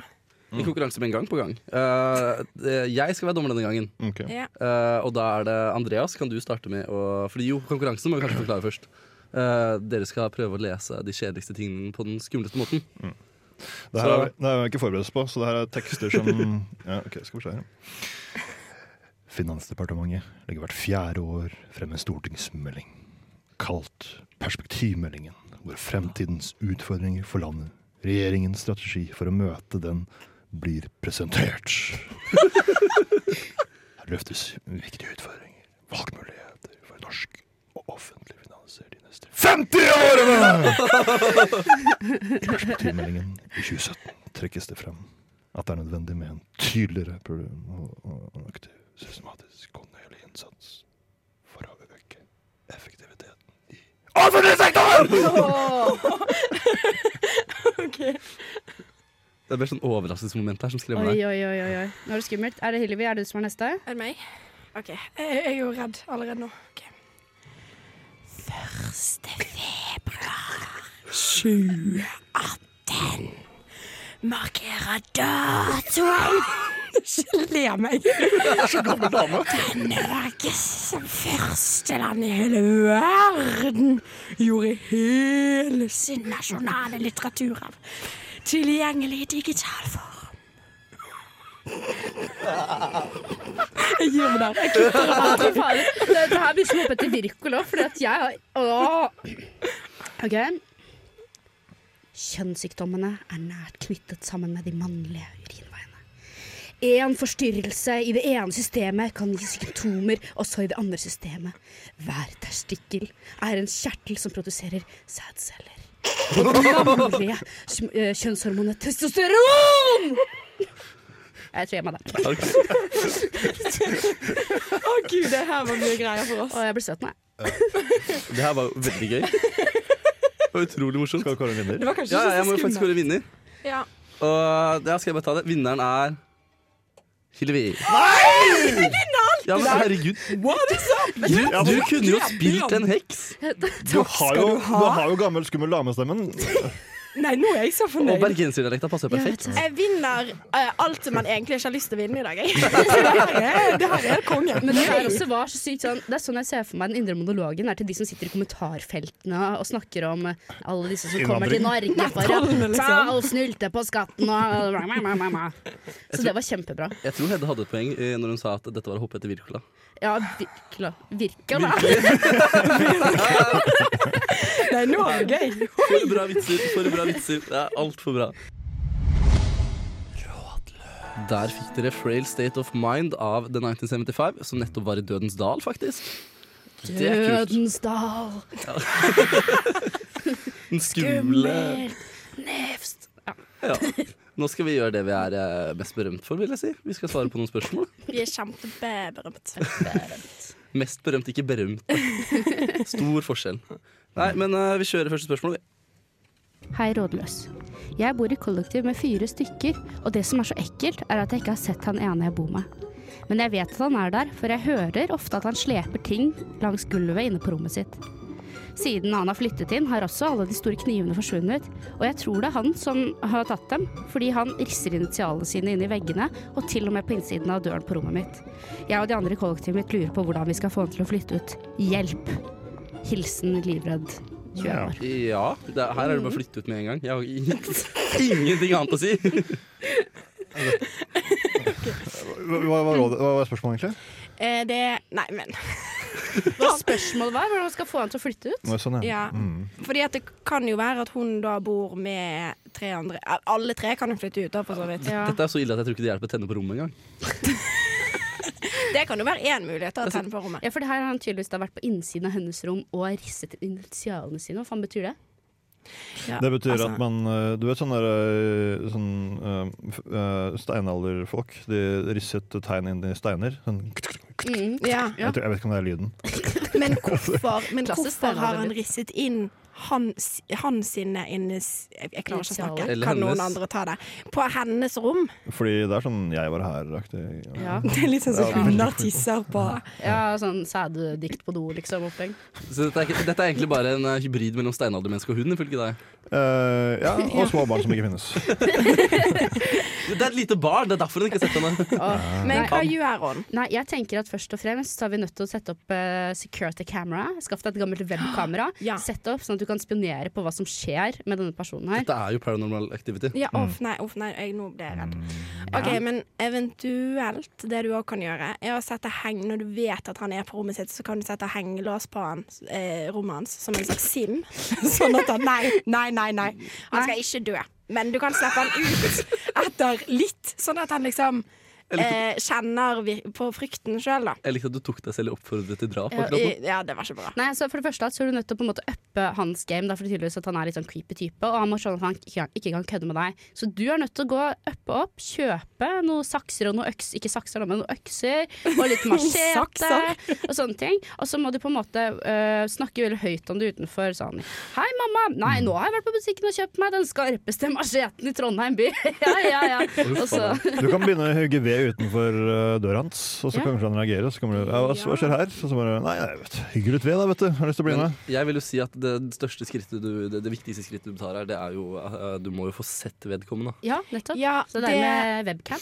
Speaker 1: En konkurranse med en gang på gang. Eh, det- jeg skal være dommer denne gangen.
Speaker 6: Ok.
Speaker 4: Ja.
Speaker 1: Eh, og da er det Andreas, kan du starte med å Fordi jo, konkurransen må vi kanskje forklare først. Eh, dere skal prøve å lese de kjedeligste tingene på den skumleste måten.
Speaker 6: Det her, er, det her er vi ikke forberedt oss på, så det her er tekster som ja, ok, skal vi se her. Finansdepartementet legger hvert fjerde år frem en stortingsmelding kalt Perspektivmeldingen, hvor fremtidens utfordringer for landet, regjeringens strategi for å møte den, blir presentert. Her løftes viktige utfordringer, valgmuligheter for norsk og offentlig finanser de neste 50 årene! perspektivmeldingen i 2017 trekkes det frem at det er nødvendig med en tydeligere problem og, og og en aktiv, systematisk kontinuerlig innsats for å øke effektiviteten i offentlig sektor!
Speaker 1: Det er mer sånn overraskelsesmoment her som skremmer
Speaker 5: Oi,
Speaker 1: deg.
Speaker 5: oi, oi, oi. oi. Nå er det skummelt. Er det Hillevi? Er det du som er neste?
Speaker 4: Er det meg? OK. Jeg, jeg er jo redd allerede nå. Ok. Første februar 2018 markerer datoen Ikke le meg. Det er Norge som første land i hele verden gjorde hele sin nasjonale litteraturarv tilgjengelig i digital form. Jeg gir meg der. Jeg kutter det.
Speaker 5: Fy faen. Dette her blir som oppe til Wirkola, fordi at jeg har Åh. OK. Kjønnssykdommene er nært knyttet sammen med de mannlige urinveiene. Én forstyrrelse i det ene systemet kan gi symptomer også i det andre systemet. Hver terstikkel er en kjertel som produserer sædceller. Og det mannlige kjø- eh, kjønnshormonet testosteron! Jeg tror jeg må det.
Speaker 1: Er det ikke-
Speaker 4: Å gud, det her var mye greier for oss.
Speaker 5: Og jeg blir søt nå. jeg.
Speaker 1: Det her var jo veldig gøy. Det var utrolig morsomt.
Speaker 6: Skal vi kåre en vinner?
Speaker 4: Det var kanskje
Speaker 1: Ja, jeg må jo
Speaker 4: ikke så
Speaker 1: faktisk
Speaker 4: skummelt.
Speaker 1: kåre vinner.
Speaker 4: Ja.
Speaker 1: Og ja, skal jeg bare ta det? Vinneren er Hillevi. Ja, men herregud. Du, du kunne jo spilt en heks.
Speaker 6: Du har jo, du har jo gammel, skummel damestemmen.
Speaker 4: Nei, nå er jeg så
Speaker 1: Og
Speaker 4: fornøyd.
Speaker 1: bergenserdialekta passer
Speaker 5: Jeg
Speaker 1: perfekt.
Speaker 5: vet det.
Speaker 4: Jeg vinner eh, alt som man egentlig ikke har lyst til å vinne i dag, jeg. Så det her er, det her er konge.
Speaker 5: Men det der også var så sykt sånn Det er sånn jeg ser for meg den indre monologen er til de som sitter i kommentarfeltene og snakker om eh, alle disse som kommer til Norge for å
Speaker 4: Netthandel, liksom.
Speaker 5: ta og snulte på skatten og Så det var kjempebra.
Speaker 1: Jeg tror Hedde hadde et poeng eh, når hun sa at dette var å hoppe etter Wirkola.
Speaker 5: Ja, virkelig. Virker da.
Speaker 4: Nei, nå er det gøy.
Speaker 1: For bra vitser! For bra vitser. Det er altfor bra. Der fikk dere 'Frail State of Mind' av The 1975, som nettopp var i Dødens dal, faktisk. Det er kult.
Speaker 5: Dødens dal.
Speaker 1: Den skumle
Speaker 5: Nevst.
Speaker 1: Ja. Nå skal vi gjøre det vi er eh, mest berømt for, vil jeg si. Vi skal svare på noen spørsmål.
Speaker 4: Vi er kjempeberømt.
Speaker 1: Mest berømt, ikke berømt. Stor forskjell. Nei, men eh, vi kjører første spørsmål. vi.
Speaker 5: Hei, rådløs. Jeg bor i kollektiv med fire stykker, og det som er så ekkelt, er at jeg ikke har sett han ene jeg bor med. Men jeg vet at han er der, for jeg hører ofte at han sleper ting langs gulvet inne på rommet sitt. Siden han har flyttet inn, har også alle de store knivene forsvunnet, og jeg tror det er han som har tatt dem, fordi han risser initialene sine inn i veggene, og til og med på innsiden av døren på rommet mitt. Jeg og de andre i kollektivet mitt lurer på hvordan vi skal få han til å flytte ut. Hjelp! Hilsen livredd 20 år.
Speaker 1: Ja, det, her er det bare å
Speaker 4: Mm.
Speaker 1: flytte ut med en gang. Jeg har ing- ingenting annet å si.
Speaker 6: Hva, hva, var rådet- hva var spørsmålet, egentlig?
Speaker 4: Eh, det Nei, men
Speaker 5: Spørsmålet var hvordan man skal få han til å flytte ut.
Speaker 6: Nå er det sånn, ja.
Speaker 4: Ja.
Speaker 6: Mm.
Speaker 4: Fordi at det kan jo være at hun da bor med tre andre eh, Alle tre kan jo flytte ut, da, for så vidt.
Speaker 5: Ja.
Speaker 1: Dette er så ille at jeg tror ikke det hjelper å tenne på rommet engang.
Speaker 4: Det kan jo være én mulighet, da, å
Speaker 1: Altså,
Speaker 4: tenne på rommet.
Speaker 5: Ja, for det her har han tydeligvis da vært på innsiden av hennes rom og risset initialene sine. Hva faen betyr det?
Speaker 4: Ja,
Speaker 6: Det betyr
Speaker 4: altså.
Speaker 6: at man eh, Du vet sånne der, eh, sånn, eh, f- eh, steinalderfolk? De risset tegn inn i steiner. Sånn,
Speaker 5: Mm.
Speaker 4: Ja.
Speaker 6: jeg, tror, jeg vet ikke om det er lyden.
Speaker 4: Men hvorfor, men
Speaker 5: Klassisk
Speaker 4: hvorfor har han
Speaker 5: steinalderlyd.
Speaker 4: risset inn hans, hans sine innis... Jeg jeg klarer ikke å snakke.
Speaker 1: Eller
Speaker 4: Kan noen
Speaker 1: hennes.
Speaker 4: andre ta det? På hennes rom.
Speaker 6: Fordi det er sånn 'jeg var her'-aktig.
Speaker 5: Ja,
Speaker 4: Det er litt sånn som
Speaker 6: Ja.
Speaker 4: hunder tisser på.
Speaker 5: ja sånn sæddikt på do, liksom. Oppheng.
Speaker 1: Så dette er, ikke- dette er egentlig bare en eh, hybrid mellom steinaldermenneske og hund, ifølge deg.
Speaker 6: Eh, ja, og små barn som ikke finnes.
Speaker 1: Det er et lite barn, det er derfor hun ikke har sett henne.
Speaker 5: Og,
Speaker 4: Men hva gjør hun?
Speaker 5: nei, jeg tenker at først og fremst så er vi nødt til å sette opp eh, security camera. Skaff deg et gammelt webkamera.
Speaker 4: Ja.
Speaker 5: Sett det opp sånn at du kan spionere på hva som skjer med denne personen her.
Speaker 1: Dette er jo paranormal activity.
Speaker 4: Ja, uff, nei, uff, nei, jeg, nå ble jeg redd. Ok, Men eventuelt det du òg kan gjøre, er å sette heng Når du vet at han er på rommet sitt, så kan du sette hengelås på han, eh, rommet hans som en slags sim. Sånn at han Nei, nei, nei. nei Han skal ikke dø. Men du kan slippe han ut etter litt, sånn at han liksom eh, kjenner vi på frykten sjøl, da.
Speaker 1: Jeg likte at du tok deg selv og oppfordret til drap.
Speaker 5: Ja,
Speaker 1: akkurat nå.
Speaker 4: I, ja, det var ikke bra.
Speaker 5: Nei, så For det første så er du nødt til å på en måte uppe hans game, da, for det er tydeligvis at han er litt sånn creepy type. Og han må skjønne at han ikke kan, ikke kan kødde med deg. Så du er nødt til å gå uppe opp, kjøpe noen sakser og noen økser, ikke sakser, da, men noen økser og litt machete
Speaker 4: Sakser.
Speaker 5: og sånne ting. Og så må du på en måte øh, snakke veldig høyt om det utenfor sånn Hei, mamma. Nei, nå har jeg vært på butikken og kjøpt meg den skarpeste macheten i Trondheim by. ja, ja, ja. Og så
Speaker 6: Du kan begynne å hugge ved utenfor eh, døra hans, og så
Speaker 5: Ja.
Speaker 6: kanskje han reagerer. Og så kommer du ja, hva, 'Hva skjer her?' Og så bare 'Nei, jeg vet, hygger litt ved, da, vet du. Har lyst til å bli
Speaker 1: Men
Speaker 6: med'.
Speaker 1: jeg vil jo si at det største skrittet du, det, det viktigste skrittet du tar her, det er jo eh, Du må jo få sett vedkommende.
Speaker 5: Ja, nettopp.
Speaker 4: Ja,
Speaker 5: Så det er med webcam.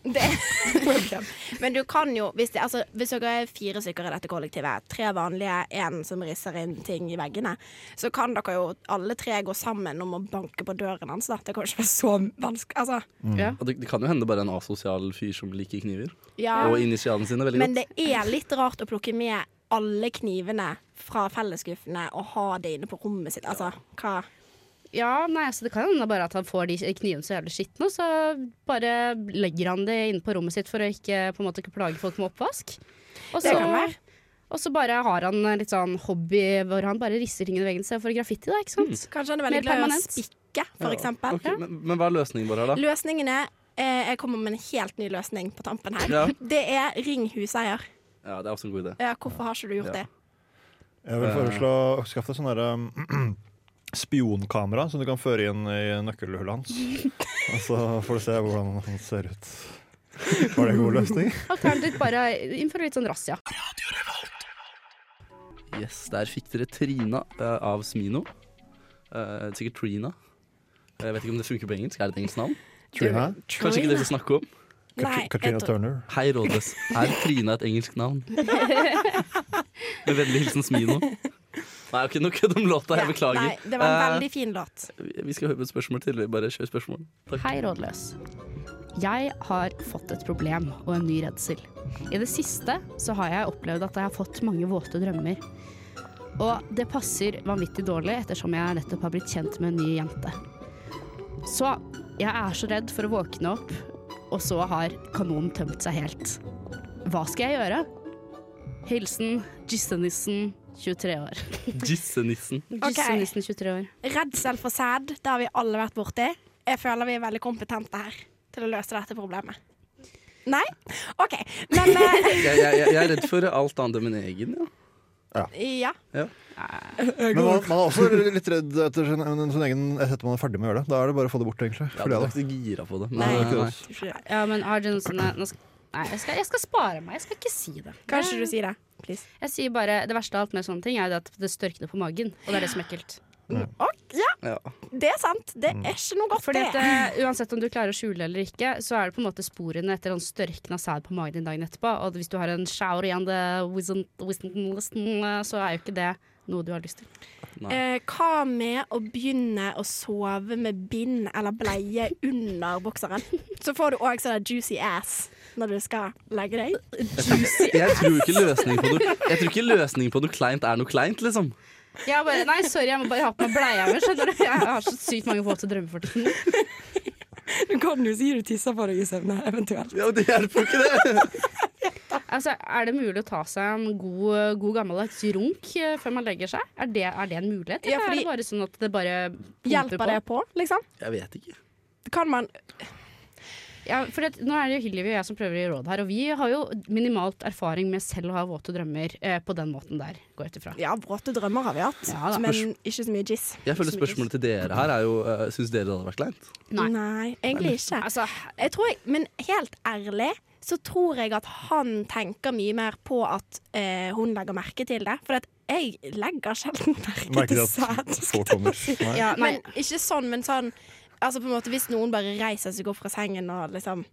Speaker 4: Det er Men du kan jo, hvis, det, altså, hvis dere er fire stykker i dette kollektivet, tre vanlige, én som risser inn ting i veggene, så kan dere jo alle tre gå sammen om å banke på døren hans. Da. Det kan jo ikke være så vanskelig. Altså,
Speaker 5: Ja.
Speaker 1: Og det, det kan jo hende bare en asosial fyr som liker kniver.
Speaker 4: ja.
Speaker 1: Og initialene sine veldig
Speaker 4: Men
Speaker 1: godt.
Speaker 4: det er litt rart å plukke med alle knivene fra fellesskuffene og ha det inne på rommet sitt. Altså, hva?
Speaker 5: Ja, nei, altså det kan hende bare at han får de knivene så jævlig skitne, og så bare legger han det inne på rommet sitt for å ikke, på en måte, ikke plage folk med oppvask. Og så,
Speaker 4: Det kan være.
Speaker 5: og så bare har han litt sånn hobby hvor han bare risser ting i veggen sin for graffiti, da, ikke sant?
Speaker 4: Kanskje han er veldig
Speaker 5: Mer
Speaker 4: glad i å
Speaker 5: permanent.
Speaker 4: spikke, for
Speaker 1: Mm. Ja.
Speaker 4: eksempel.
Speaker 1: Ok, men, men hva er løsningen vår her, da?
Speaker 4: Løsningen er eh, Jeg kommer med en helt ny løsning på tampen her.
Speaker 1: Ja.
Speaker 4: Det er ring huseier.
Speaker 1: Ja, Det er også en god idé.
Speaker 4: Ja, hvorfor har ikke du gjort
Speaker 1: Ja.
Speaker 4: det?
Speaker 6: Jeg vil foreslå å skaffe deg sånn derre um, spionkamera som du kan føre inn i nøkkelhullet hans. Og så får du se hvordan han ser ut. Var det en god løsning?
Speaker 5: Alternativt bare innføre litt sånn razzia.
Speaker 1: Yes, Der fikk dere Trina eh, av Smino. Eh, sikkert Trina. Eh, Jeg vet ikke om det funker på engelsk. Er det et engelsk navn?
Speaker 6: Trina?
Speaker 1: Kanskje ikke det vi skal snakke om.
Speaker 4: Nei, jeg
Speaker 6: Katrina
Speaker 4: tror-
Speaker 6: Turner.
Speaker 1: Hei, Rådløs. Er Trina et engelsk navn? Med vennlig hilsen Smino. Nei, ok, nå kødder om låta. Jeg beklager.
Speaker 4: Nei, det var en
Speaker 1: Eh,
Speaker 4: veldig fin låt.
Speaker 1: vi- Vi skal høre på et spørsmål til. Vi Bare kjør spørsmål. Takk.
Speaker 5: Hei, rådløs. Jeg har fått et problem og en ny redsel. I det siste så har jeg opplevd at jeg har fått mange våte drømmer. Og det passer vanvittig dårlig ettersom jeg nettopp har blitt kjent med en ny jente. Så jeg er så redd for å våkne opp, og så har kanonen tømt seg helt. Hva skal jeg gjøre? Hilsen Gissenissen, 23 år.
Speaker 1: Gissenissen.
Speaker 5: Gissenissen, 23 år.
Speaker 4: Redsel for sæd, det har vi alle vært borti. Jeg føler vi er veldig kompetente her til å løse dette problemet. Nei? OK. Men eh,
Speaker 1: Jeg, jeg, jeg jeg er redd for alt annet enn min egen, ja.
Speaker 4: eh, ja.
Speaker 6: Men man, man er også litt redd etter sin, en- sin egen etter man er ferdig med å gjøre det. Da er det bare å få det bort, egentlig.
Speaker 1: Ja,
Speaker 6: For
Speaker 1: du
Speaker 6: det
Speaker 1: er
Speaker 6: er det.
Speaker 1: ikke gira på det. men- eh,
Speaker 4: Nei.
Speaker 1: nei, nei.
Speaker 5: Ja, men Arjun Sonne nå skal, Nei, jeg skal, jeg skal spare meg. Jeg skal ikke si det.
Speaker 4: Kan ikke du si det? Please.
Speaker 5: Jeg sier bare, Det verste av alt med sånne ting er jo det at det størkner på magen. Og det er det som er ekkelt.
Speaker 4: Ok, ja,
Speaker 1: Ja.
Speaker 4: det er sant. Det er ikke noe godt,
Speaker 5: Fordi at
Speaker 4: det.
Speaker 5: eh, Uansett om du klarer å skjule eller ikke, så er det på en måte sporene etter en størkna sæd på magen din dagen etterpå. Og hvis du har en shower igjen, det, så er jo ikke det noe du har lyst til.
Speaker 4: Eh, hva med å begynne å sove med bind eller bleie under bokseren? Så får du òg sånn juicy ass når du skal legge deg.
Speaker 1: Jeg tror ikke løsningen på noe Jeg tror ikke løsningen på noe kleint er noe kleint, liksom.
Speaker 5: Jeg bare, nei, sorry, jeg må bare ha på meg bleia mi. Skjønner du? Jeg har så sykt mange våte drømmer for tiden.
Speaker 4: Du kan jo si du tisser på deg i søvne, eventuelt.
Speaker 1: Ja, det hjelper jo ikke det!
Speaker 5: Altså, er det mulig å ta seg en god, god gammeldags runk eh, før man legger seg? Er det, er det en mulighet?
Speaker 4: Ja,
Speaker 5: Eller er
Speaker 4: fordi-
Speaker 5: det bare sånn at det bare pumper
Speaker 4: Hjelper det på, liksom?
Speaker 1: Jeg vet ikke.
Speaker 4: Kan man
Speaker 5: Ja, for det, nå er det jo Hillevi og jeg som prøver å gi råd her, og vi har jo minimalt erfaring med selv å ha våte drømmer eh, på den måten der, går jeg ut ifra.
Speaker 4: Ja, våte drømmer har vi hatt,
Speaker 5: Ja da.
Speaker 4: men ikke så mye jizz.
Speaker 1: Jeg føler spørsmålet til dere her er jo uh, Syns dere det hadde vært kleint?
Speaker 5: Nei.
Speaker 4: egentlig ikke.
Speaker 5: Altså,
Speaker 4: Jeg tror jeg, men helt ærlig så tror jeg at han tenker mye mer på at eh, hun legger merke til det. For at jeg legger sjelden merke
Speaker 6: Merker
Speaker 4: til
Speaker 6: at
Speaker 4: sæd.
Speaker 6: få kommer. Nei.
Speaker 5: ja, nei.
Speaker 4: Men ikke sånn, men sånn Altså på en måte Hvis noen bare reiser seg opp fra sengen og liksom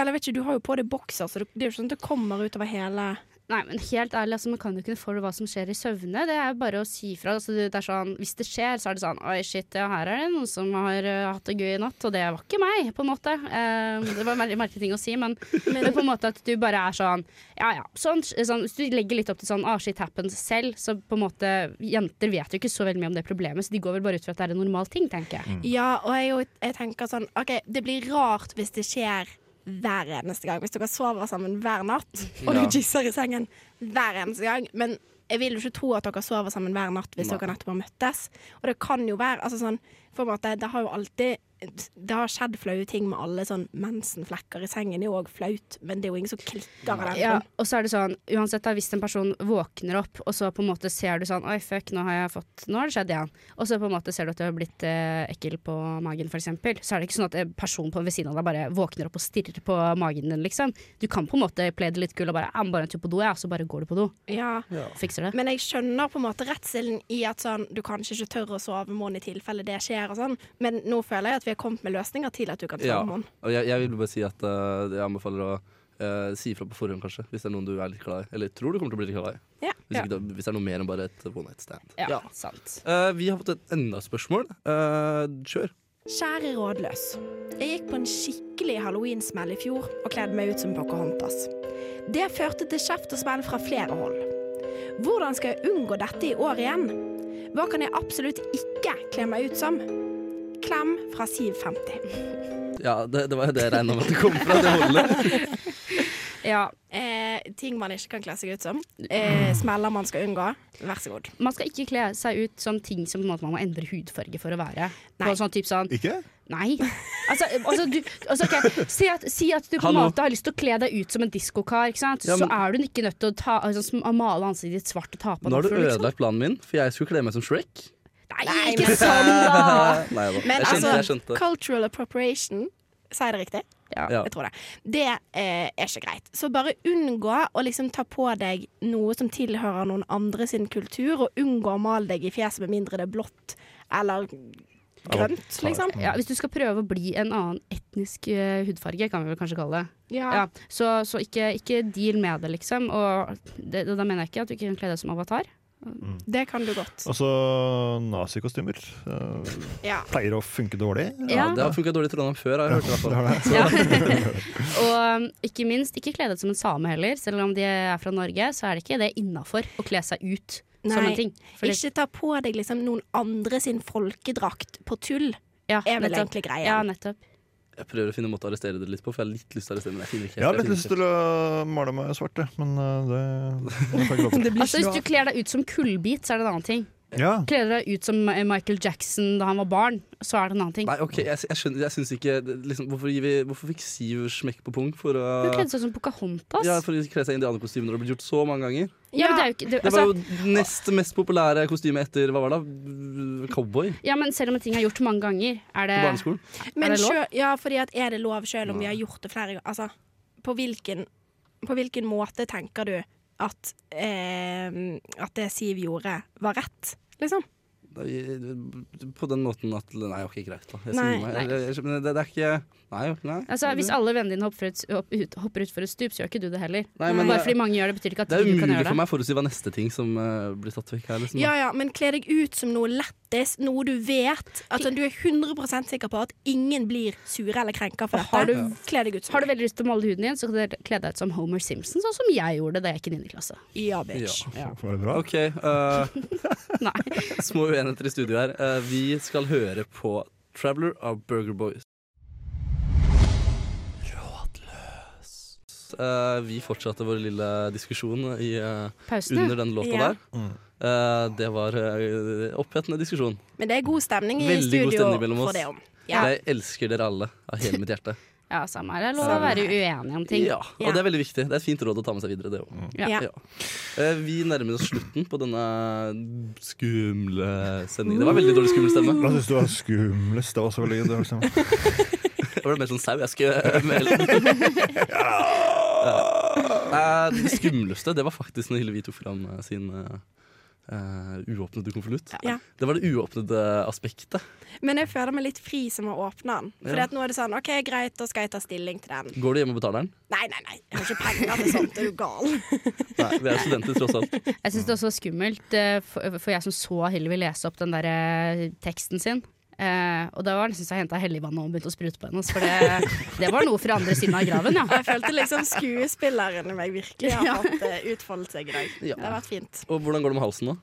Speaker 4: Eller vet ikke, du har jo på deg bokser, så det det er jo ikke sånn at det kommer utover hele
Speaker 5: Nei, men helt ærlig, altså, man kan jo ikke for hva som skjer i søvne. Det er bare å si fra. Altså, det det er sånn, hvis det skjer, så er det sånn Oi, shit, ja, her er det noen som har eh, hatt det gøy i natt, og det var ikke meg, på en måte. Eh, det var en veldig merkelig ting å si, men, men på en måte at du bare er sånn Ja, ja. Sånn, sånn, hvis du legger litt opp til sånn ah, shit happens selv, så på en måte Jenter vet jo ikke så veldig mye om det problemet, så de går vel bare ut fra at det er en normal ting, tenker jeg.
Speaker 4: Ja, og jeg, er jo- jeg tenker sånn OK, det blir rart hvis det skjer hver eneste gang. Hvis dere sover sammen hver natt, og
Speaker 1: Ja.
Speaker 4: du jizzer i sengen hver eneste gang. Men jeg vil jo ikke tro at dere sover sammen hver natt hvis
Speaker 1: Nei.
Speaker 4: dere nettopp har møttes. Og det kan jo være altså sånn på en måte, Det har jo alltid det har skjedd flaue ting med alle sånn mensenflekker i sengen. Det er jo òg flaut, men det er jo ingen som klikker av den.
Speaker 5: Ja,
Speaker 4: grunn.
Speaker 5: og så er det sånn, uansett da, hvis en person våkner opp, og så på en måte ser du sånn Oi, fuck, nå har jeg fått Nå har det skjedd igjen. Og så på en måte ser du at du har blitt eh, ekkel på magen, f.eks. Så er det ikke sånn at en person på ved siden av deg bare våkner opp og stirrer på magen din, liksom. Du kan på en måte play det litt gull og bare Jeg må bare en tur på do, jeg, og så bare går du på do.
Speaker 4: Ja.
Speaker 5: Fikser det.
Speaker 4: Men jeg skjønner på en måte redselen i at sånn, du kanskje ikke tør å sove morgen i tilfelle det skjer og sånn, men nå føler jeg at vi har kommet med løsninger til at du kan sove
Speaker 1: Ja.
Speaker 4: morgen.
Speaker 1: Og jeg, jeg vil bare si at eh, jeg anbefaler å eh, si ifra på forhånd, kanskje, hvis det er noen du er litt glad i. Eller tror du kommer til å bli litt glad i.
Speaker 4: Ja.
Speaker 1: Hvis, ikke, da- hvis det er noe mer enn bare et one night stand.
Speaker 5: Ja,
Speaker 1: Ja.
Speaker 5: sant.
Speaker 1: Eh, vi har fått et enda spørsmål. Eh, kjør.
Speaker 4: Kjære rådløs. Jeg gikk på en skikkelig halloweensmell i fjor og kledde meg ut som Pocahontas. Det førte til kjeft og smell fra flere hold. Hvordan skal jeg unngå dette i år igjen? Hva kan jeg absolutt ikke kle meg ut som? Klem fra Siv 50.
Speaker 1: Ja, det, det var jo det jeg regna med at det kom fra. Det holder.
Speaker 5: Ja,
Speaker 4: Eh, ting man ikke kan kle seg ut som. Eh, smeller man skal unngå. Vær så god.
Speaker 5: man skal ikke kle seg ut som ting som på en måte man må endre hudfarge for å være.
Speaker 4: Nei.
Speaker 5: På sånn typ sånn
Speaker 6: Ikke?
Speaker 5: Nei. Altså, altså, du, altså ok, si, at, si at du på en
Speaker 1: Hallo.
Speaker 5: måte har lyst til å kle deg ut som en diskokar, ikke sant?
Speaker 1: Ja, men-
Speaker 5: så er du ikke nødt til å ta, altså, sm- male ansiktet ditt svart og ta på
Speaker 1: Nå har du
Speaker 5: afro, liksom.
Speaker 1: ødelagt planen min, for jeg skulle kle meg som Shrek.
Speaker 5: Nei,
Speaker 4: Nei,
Speaker 5: ikke
Speaker 4: men-
Speaker 5: sånn, da!
Speaker 1: Nei da.
Speaker 4: Men
Speaker 1: Jeg skjønte. Jeg
Speaker 4: altså,
Speaker 1: skjønte.
Speaker 4: cultural appropriation Sa jeg det riktig?
Speaker 5: Ja.
Speaker 1: Ja.
Speaker 4: Jeg tror det. Det eh, er ikke greit. Så bare unngå å liksom ta på deg noe som tilhører noen andre sin kultur, og unngå å male deg i fjeset med mindre det er blått eller grønt, liksom.
Speaker 5: Ja, hvis du skal prøve å bli en annen etnisk eh, hudfarge, kan vi vel kanskje kalle det.
Speaker 4: Ja.
Speaker 5: Ja, så så ikke, ikke deal med det, liksom. Og det, da mener jeg ikke at du ikke kan kle deg som avatar.
Speaker 4: Det kan du godt.
Speaker 6: Altså, nazikostymer eh,
Speaker 4: Ja.
Speaker 6: pleier å funke dårlig.
Speaker 1: Ja, det har funka dårlig i Trondheim før, har jeg hørt. i hvert fall.
Speaker 5: Ja. og um, ikke minst, ikke kle deg ut som en same heller. Selv om de er fra Norge, så er det ikke det innafor å kle seg ut som
Speaker 4: Nei,
Speaker 5: en ting. Fordi-
Speaker 4: Ikke ta på deg liksom noen andre sin folkedrakt på tull,
Speaker 5: ja,
Speaker 4: er vel
Speaker 5: nettopp.
Speaker 4: egentlig greia.
Speaker 5: Ja, nettopp.
Speaker 1: Jeg prøver å finne en måte å arrestere dere litt på, for jeg har litt lyst til å arrestere, men jeg finner ikke
Speaker 6: Jeg har
Speaker 1: jeg
Speaker 6: litt
Speaker 1: finner
Speaker 6: lyst
Speaker 1: ikke helt.
Speaker 6: til å male meg svart, jeg, men eh, det, det får jeg ikke lov til.
Speaker 5: Altså, hvis du kler deg ut som kullbit, så er det en annen ting.
Speaker 6: Ja.
Speaker 5: Kler du deg ut som eh, Michael Jackson da han var barn, så er det en annen ting.
Speaker 1: Nei, ok, jeg, jeg skjønner, jeg syns ikke liksom, hvorfor, gir vi, hvorfor fikk Siv smekk på pung for å
Speaker 5: Hun kledde seg som Pocahontas.
Speaker 1: ja,
Speaker 5: Ja,
Speaker 1: for å kle seg i indianerkostyme når det har blitt gjort så mange ganger?
Speaker 5: men det er jo ikke, det,
Speaker 1: Det var
Speaker 5: altså,
Speaker 1: jo nest mest populære kostyme etter hva var det? da? Cowboy
Speaker 5: ja, men selv om en ting er gjort mange ganger, er det
Speaker 1: på barneskolen.
Speaker 4: Men
Speaker 5: Er det lov?
Speaker 4: sjø- ja, fordi at er det lov selv om vi har gjort det flere ganger? Altså, på hvilken, på hvilken måte ehm, tenker du at, eh, at det Siv gjorde, var rett? Liksom.
Speaker 1: På den måten at Nei, ok, greit, da. Jeg
Speaker 4: Nei,
Speaker 1: snur meg. Jeg- jeg- men Det, det er ikke Nei. jo, nei.
Speaker 5: Altså, hvis alle vennene dine hopper utfor hopp, ut, hopper utfor et stup, så gjør ikke du det heller.
Speaker 1: nei men
Speaker 5: Bare
Speaker 1: det,
Speaker 5: fordi mange gjør det, betyr ikke at
Speaker 1: det er
Speaker 5: du kan
Speaker 1: umulig
Speaker 5: gjøre
Speaker 1: for
Speaker 5: det.
Speaker 1: meg å forutsi hva neste ting som eh, blir tatt vekk her. Liksom, da.
Speaker 4: Ja ja, men kle deg ut som noe lættis, noe du vet. At du er 100 sikker på at ingen blir sure eller krenka for dette.
Speaker 5: Har du-
Speaker 4: Kle deg ut som
Speaker 5: Har du veldig lyst til å male huden din, så kan du kle deg ut som Homer Simpson, sånn som jeg gjorde da jeg gikk i 9. klasse.
Speaker 4: Ja, bitch.
Speaker 6: Var det bra?
Speaker 1: OK. eh,
Speaker 5: Nei.
Speaker 1: små uenigheter i studio her. Eh, vi skal høre på Traveler av Burger Boys. Rådløs. Eh, vi fortsatte vår lille diskusjon i, eh,
Speaker 5: Pausen,
Speaker 1: under
Speaker 5: ja.
Speaker 1: den låta
Speaker 4: Ja.
Speaker 1: der. Eh, det var eh, opphetende diskusjon.
Speaker 4: Men det er god stemning i
Speaker 1: Veldig god
Speaker 4: studio
Speaker 1: stemning mellom oss.
Speaker 4: for det om. Ja.
Speaker 1: Jeg elsker dere alle av hele mitt hjerte.
Speaker 5: ja, samme her. Det er lov å være uenig om ting.
Speaker 1: Ja, og det er veldig viktig. Det er et fint råd å ta med seg videre. Det også.
Speaker 5: Ja.
Speaker 1: Ja. Eh, Vi nærmer oss slutten på denne skumle sendingen. Det var veldig dårlig skummel stemme.
Speaker 6: Hva syns du var skumlest? Det var så veldig det var liksom.
Speaker 1: Det var mer sånn sau jeg skulle melde. Eh, Det skumleste det var faktisk når Hillevi tok fram eh, sin eh, eh, uåpnede konvolutt.
Speaker 4: Ja.
Speaker 1: Det var det uåpnede aspektet.
Speaker 4: Men jeg føler meg litt fri som har åpna den. For
Speaker 1: Ja.
Speaker 4: at nå er det sånn OK, greit, da skal jeg ta stilling til den.
Speaker 1: Går du hjem og betaler den?
Speaker 4: Nei, nei, nei. Jeg har ikke penger til sånt. Er du gal?
Speaker 1: Nei, vi er studenter tross alt.
Speaker 5: Jeg syns det også var skummelt, eh, for, for jeg som så Hillevi lese opp den der eh, teksten sin. Eh, og da var det nesten så jeg henta helligvannet og begynte å sprute på henne. ass, For det, det var noe fra andre siden av graven, ja.
Speaker 4: Jeg følte liksom skuespilleren i meg virkelig har fått eh, utfoldet seg i dag.
Speaker 1: Ja.
Speaker 4: Det har vært fint.
Speaker 1: Og hvordan går det med halsen nå?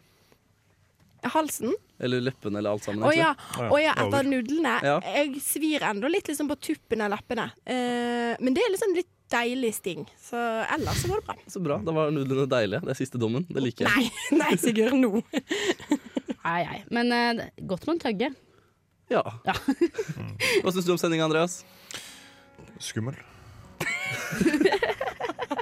Speaker 4: Halsen?
Speaker 1: Eller leppene eller alt sammen?
Speaker 4: Å ja.
Speaker 1: egentlig?
Speaker 4: Å ja, etter nudlene.
Speaker 1: Ja.
Speaker 4: Jeg svir ennå litt liksom på tuppen av leppene. Eh, men det er liksom litt deilig sting. Så ellers så var det bra.
Speaker 1: Så bra. Da var nudlene deilige. Det er siste dommen. Det liker jeg.
Speaker 4: Nei, nei Sigurd, nå.
Speaker 5: Nei, nei. Men eh, godt med en tøgge.
Speaker 1: Ja.
Speaker 5: Ja.
Speaker 1: Hva syns du om sendinga, Andreas?
Speaker 6: Skummel.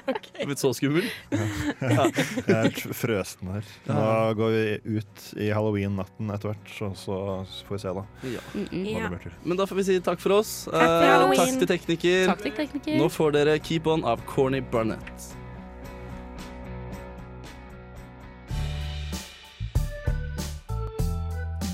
Speaker 1: Er du blitt så skummel?
Speaker 6: Jeg er helt frøsen her. Nå går vi ut i halloween-natten etter hvert, så, så får vi se, da.
Speaker 1: Ja.
Speaker 6: Hva
Speaker 4: Ja.
Speaker 6: det blir til.
Speaker 1: Men da får vi si takk for oss. Takk,
Speaker 4: Halloween.
Speaker 1: takk til tekniker.
Speaker 5: Takk til tekniker.
Speaker 1: Nå får dere Keep On av Corny Barnett.